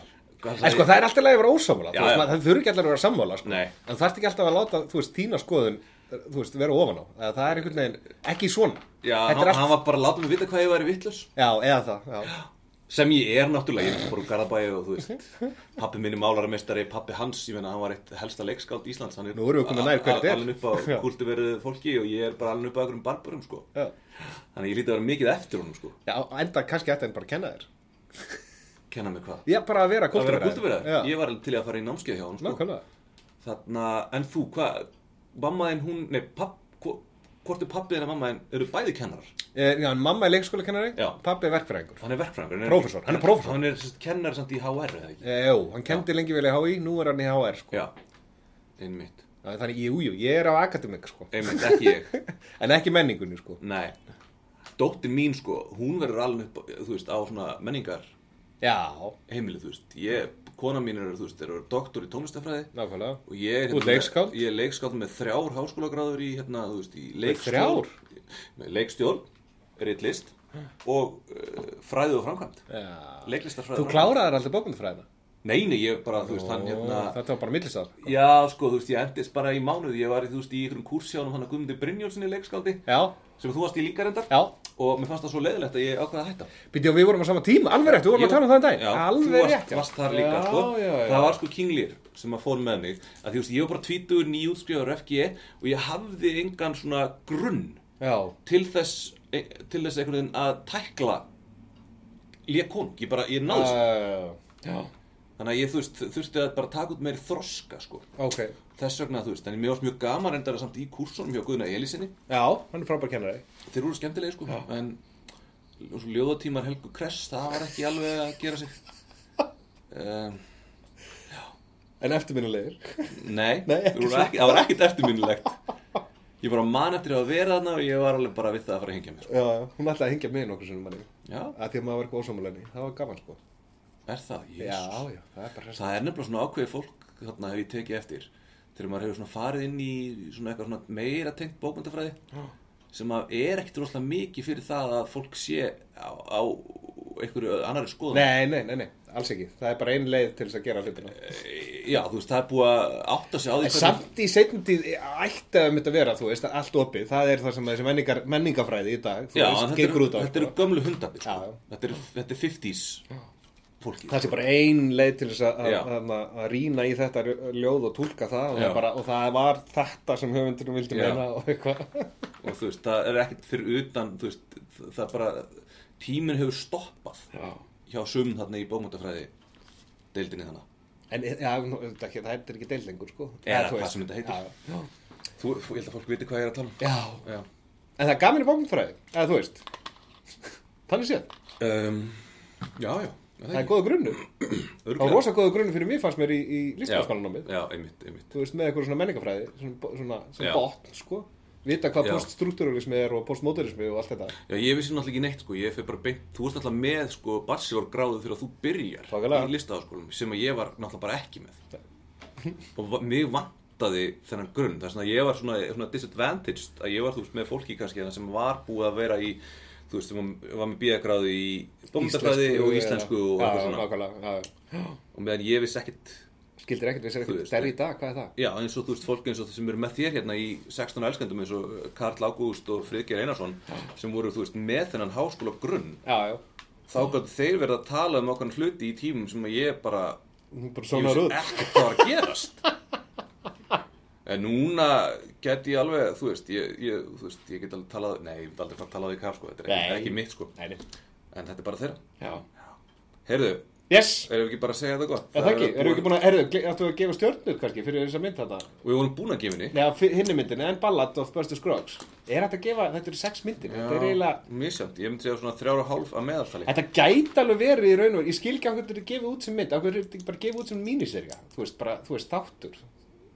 Speaker 2: Hvað
Speaker 3: En sko það er alltaf leið að vera ósammála,
Speaker 2: Já,
Speaker 3: þú veist,
Speaker 2: já.
Speaker 3: maður- það þurfi ekki alltaf að vera sammála, sko.
Speaker 2: Nei.
Speaker 3: En það ert ekki alltaf að láta, þú veist, þína skoðun, þú veist, vera ofan á. Eða Það er einhvern veginn, ekki svona.
Speaker 2: Já,
Speaker 3: Þetta
Speaker 2: hann,
Speaker 3: er allt-
Speaker 2: hann var bara að láta mig vita hvað ég væri vittlus
Speaker 3: Já, eða það, já.
Speaker 2: sem ég er náttúrulega, ég fór úr Garðabæi og þú veist, pappi minni málararmestari, pappi hans, ég meina, hann var eitt helsta leikskáld Íslands, hann er
Speaker 3: Nú erum við komin nær hverju þetta er.
Speaker 2: alveg upp á
Speaker 3: Já.
Speaker 2: kultiverðu fólki og ég er bara alveg upp á einhverjum barbarum, sko.
Speaker 3: Já.
Speaker 2: Þannig að ég lítið að vera mikið eftir honum, sko.
Speaker 3: Já, enda kannski ætti hann bara að kenna þér.
Speaker 2: Kenna mig hvað?
Speaker 3: Já, bara að vera
Speaker 2: Að vera
Speaker 3: kultúrverðar. Já.
Speaker 2: kultiverðar? Ég var alveg til í að fara í námskeið hjá honum, sko.
Speaker 3: Nákvæmlega.
Speaker 2: Þannig að, en þú, hvað, mamma þinn, hún, nei, papp, hvo- hvort er pappið þinn og mamma þinn, eru bæði kennarar?
Speaker 3: Eh, Já, en mamma er leikskólakennari,
Speaker 2: Já.
Speaker 3: pappi er verkfræðingur.
Speaker 2: Hann er verkfræðingur. en
Speaker 3: Prófessor, hann er prófessor.
Speaker 2: Hann er sem sagt, kennari samt í HR, eða ekki?
Speaker 3: Eh, Jú, hann kendi lengi vel í HÍ, nú er hann í HR, sko.
Speaker 2: Já, einmitt.
Speaker 3: Já, Þannig, jú, jú, ég er á akademik, sko.
Speaker 2: Einmitt, ekki ég.
Speaker 3: En ekki menningunni, sko.
Speaker 2: Nei, dóttir mín sko, hún verður alveg upp, á- þú veist, á svona menningar
Speaker 3: Já,
Speaker 2: heimili, þú veist, ég, kona mín er, þú veist, er doktor í tónlistafræði
Speaker 3: nákvæmlega.
Speaker 2: og ég er, hérna
Speaker 3: Þú ert leikskáld?
Speaker 2: ég er leikskáld með þrjár háskólagráður í, hérna, þú veist, í
Speaker 3: þrjár?
Speaker 2: leikstjórn, með leikstjórn, reitlist og uh, fræði og framkvæmt,
Speaker 3: Já.
Speaker 2: leiklistarfræði.
Speaker 3: Þú
Speaker 2: og framkvæmd.
Speaker 3: kláraðar aldrei bókmyndfræðina.
Speaker 2: Nei, nei, ég bara, þú veist, hann, hérna,
Speaker 3: Ó, Þetta var bara millistar.
Speaker 2: já, sko, þú veist, ég endist bara í mánuði, ég var, í, þú veist, í ykkurum kursjánum hann að Guðmundi Brynjólfsinni leikskáldi,
Speaker 3: Já,
Speaker 2: sem þú varst í líka reyndar,
Speaker 3: já.
Speaker 2: og mér fannst það svo leiðilegt að ég ákvaði að hætta.
Speaker 3: Býtti og við vorum á sama tíma, alveg rétt, við vorum að tala um það en dag.
Speaker 2: Já, þú
Speaker 3: alveg
Speaker 2: varst,
Speaker 3: rétt. já.
Speaker 2: varst þar líka,
Speaker 3: já,
Speaker 2: sko.
Speaker 3: Já, já,
Speaker 2: Það var sko kinglir sem að fór með mig. Að því, þú veist, ég var bara tvítur, nýjútskrifaður FG E og ég hafði engan svona grunn
Speaker 3: Já,
Speaker 2: til þess, e, til þess einhvern veginn að tækla lékonung. Ég bara, ég náðist.
Speaker 3: Ah, já,
Speaker 2: Já. Þannig að ég, þú veist, þurfti að bara taka út meiri þroska, sko.
Speaker 3: ok.
Speaker 2: Þess vegna, þú veist, en mér varst mjög gaman reyndar samt í kursunum hjá Guðna Elísinni.
Speaker 3: Já, hann er frábær kennari.
Speaker 2: Þeir eru skemmtilegi, sko, en og svo ljóðatímar Helgu Kress, það var ekki alveg að gera sig. Um,
Speaker 3: En eftirminnilegir.
Speaker 2: Nei,
Speaker 3: Nei, ekki
Speaker 2: þú voru ekki, það var ekkert eftirminnilegt Ég bara man eftir að vera þarna og ég var alveg bara við það að fara að hengja mér sko.
Speaker 3: Já, já, hún ætlaði að hingja mig nokkur sinnum manni.
Speaker 2: Já,
Speaker 3: Að því að maður var eitthvað ósámulegni. Það var gaman, sko.
Speaker 2: er það,
Speaker 3: Já,
Speaker 2: jésús
Speaker 3: já, það er bara hress.
Speaker 2: Það er nefnilega svona ákveðið fólk þarna hef ég tekið eftir þegar maður hefur svona farið inn í svona eitthvað svona meira tengt bókmyndafræði sem að er ekkert rosalega mikið fyrir það að fólk sé á, á einhverju annari skoðan
Speaker 3: Nei, nei, nei, nei, alls ekki. Það er bara ein leið til þess að gera
Speaker 2: Eh,
Speaker 3: hlutina.
Speaker 2: Já, þú veist, það er búið að átta sig á því
Speaker 3: En samt í seinni tíð ætti að mynda að vera, þú veist, allt opið. Það er það sem þessi menningar, menningafræði í dag, þú
Speaker 2: Já, en
Speaker 3: veist,
Speaker 2: þetta
Speaker 3: gengur
Speaker 2: eru, sko.
Speaker 3: út á. sko.
Speaker 2: þetta eru gömlu hundabir
Speaker 3: Já,
Speaker 2: sko.
Speaker 3: já.
Speaker 2: þetta, eru- þetta er 50s fólki
Speaker 3: það sé bara ein leið til þess að-
Speaker 2: Já.
Speaker 3: að- að að rýna í þetta ljóð og tólka það og,
Speaker 2: Já.
Speaker 3: það bara, og það var þetta sem höfundunum vildi
Speaker 2: Já.
Speaker 3: meina og eitthvað
Speaker 2: og þú veist, það er ekkert fyrir utan þú veist, það er bara tíminn hefur stoppað já. hjá sum þarna í bókmöntafræði deildinni þannig
Speaker 3: en e- já, nú, auðvitað ekki, það er ekki deil lengur sko.
Speaker 2: eða
Speaker 3: Eða, þú
Speaker 2: hvað
Speaker 3: veist.
Speaker 2: sem þetta heitir
Speaker 3: já,
Speaker 2: já. þú, ég held að fólk viti hvað ég er að tala
Speaker 3: já.
Speaker 2: um já.
Speaker 3: en það gaf mér bókmyndfræði eða þú veist þannig séð,
Speaker 2: Um, já, já, já,
Speaker 3: það er góða grunnur
Speaker 2: Örugglega.
Speaker 3: og rosa góða grunnur fyrir mér fannst mér í, í lífsmannskólanámið
Speaker 2: já, einmitt, einmitt
Speaker 3: þú veist, með eitthvað svona menningafræði svona, bo- svona,
Speaker 2: Já.
Speaker 3: svona botn, sko vita hvað
Speaker 2: Já.
Speaker 3: poststruktúralismi er og postmodernismi og allt þetta
Speaker 2: Já, ég vissi náttúrulega ekki neitt sko, ég fyrir bara beint, þú varst náttúrulega með sko barsjórgráðu þegar þú byrjar
Speaker 3: Svakalega.
Speaker 2: í listaháskólanum sem að ég var náttúrulega bara ekki með og va- mig vantaði þennan grunn, það er svona ég var svona, svona disadvantaged að ég var þú veist með fólki kannski þarna sem var búið að vera í þú veist, sem var- var með bíagráðu í bómyndafræði og íslensku og eitthvað svona
Speaker 3: svona
Speaker 2: og meðan ég vissi ekkit
Speaker 3: skildir ekkert við sér
Speaker 2: Þú
Speaker 3: ekkert
Speaker 2: veist,
Speaker 3: stærri í dag, hvað er það?
Speaker 2: Já, eins og þú veist, fólk eins og þau sem eru með þér hérna í 16 elskendum eins og Karl Ágúst og Friðgeir Einarsson sem voru, þú veist, með þennan háskóla grunn
Speaker 3: já, já,
Speaker 2: þá gott þeir verið að tala um okkar hluti í tímum sem að ég bara
Speaker 3: Hún bara
Speaker 2: ég
Speaker 3: svona röð
Speaker 2: ekki hvað var að gerast en núna get ég alveg þú veist, ég, ég, þú veist, ég get alveg talað nei, ég get aldrei fara að tala á því kaf sko, þetta er ekki,
Speaker 3: Nei.
Speaker 2: ekki mitt sko,
Speaker 3: Nei, nei.
Speaker 2: en þetta er bara þeirra
Speaker 3: já.
Speaker 2: heyrðu,
Speaker 3: yes,
Speaker 2: erum við ekki bara að segja þetta gott
Speaker 3: er það ekki, erum við ekki búin að erðu, ættu að gefa stjörnur kannski fyrir þess að mynd þetta
Speaker 2: og við vorum búin að gefa henni
Speaker 3: Nei, hinni myndin, en Ballad of Buster Scruggs er þetta að gefa, þetta eru sex myndir þetta er eiginlega
Speaker 2: misjönd, ég myndi segja svona þrjára hálf að meðaltali
Speaker 3: Þetta gæti alveg verið í raun og veru, ég skil ekki af hvernig þetta er gefið út sem mynd, af hvernig þetta er bara gefið út sem míniserja, þú veist, bara, þú veist, þáttur.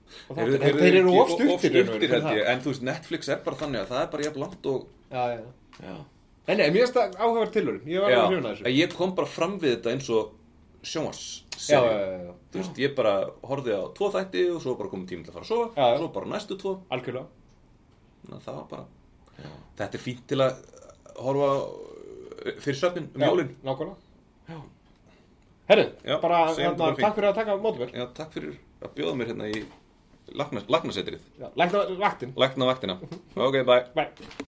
Speaker 3: Og þáttur.
Speaker 2: Eru-
Speaker 3: Þeir, eru
Speaker 2: ekki
Speaker 3: of stuttir í raun
Speaker 2: ofstuttir
Speaker 3: og veru fyrir
Speaker 2: held
Speaker 3: það.
Speaker 2: ég, en þú veist, Netflix er bara þannig að það er bara jafn langt og
Speaker 3: Já, já. já. En nei, mér finnst það áhugaverð tilurinn, ég var
Speaker 2: Já,
Speaker 3: alveg hrifin að
Speaker 2: en
Speaker 3: þessu.
Speaker 2: ég kom bara fram við þetta eins og sjónvars
Speaker 3: Já, já, já, já,
Speaker 2: Þú veist, ég bara horfði á tvo þætti og svo bara komið tími til að fara að sofa
Speaker 3: Já, já.
Speaker 2: og svo bara næstu tvo
Speaker 3: algjörlega.
Speaker 2: Ná, það var bara, þetta er fínt til að horfa á, uh, fyrir söfnin um
Speaker 3: Já,
Speaker 2: jólin
Speaker 3: Nákvæmlega. Herru,
Speaker 2: Já,
Speaker 3: bara,
Speaker 2: segjum þetta
Speaker 3: hérna,
Speaker 2: bara fínt.
Speaker 3: takk fyrir að taka á mótum mér.
Speaker 2: Já, takk fyrir að bjóða mér hérna í lagnasetrið,
Speaker 3: Já, Lækna vaktinn. Mhm.
Speaker 2: lagna vaktina Ok, bye
Speaker 3: Bæ.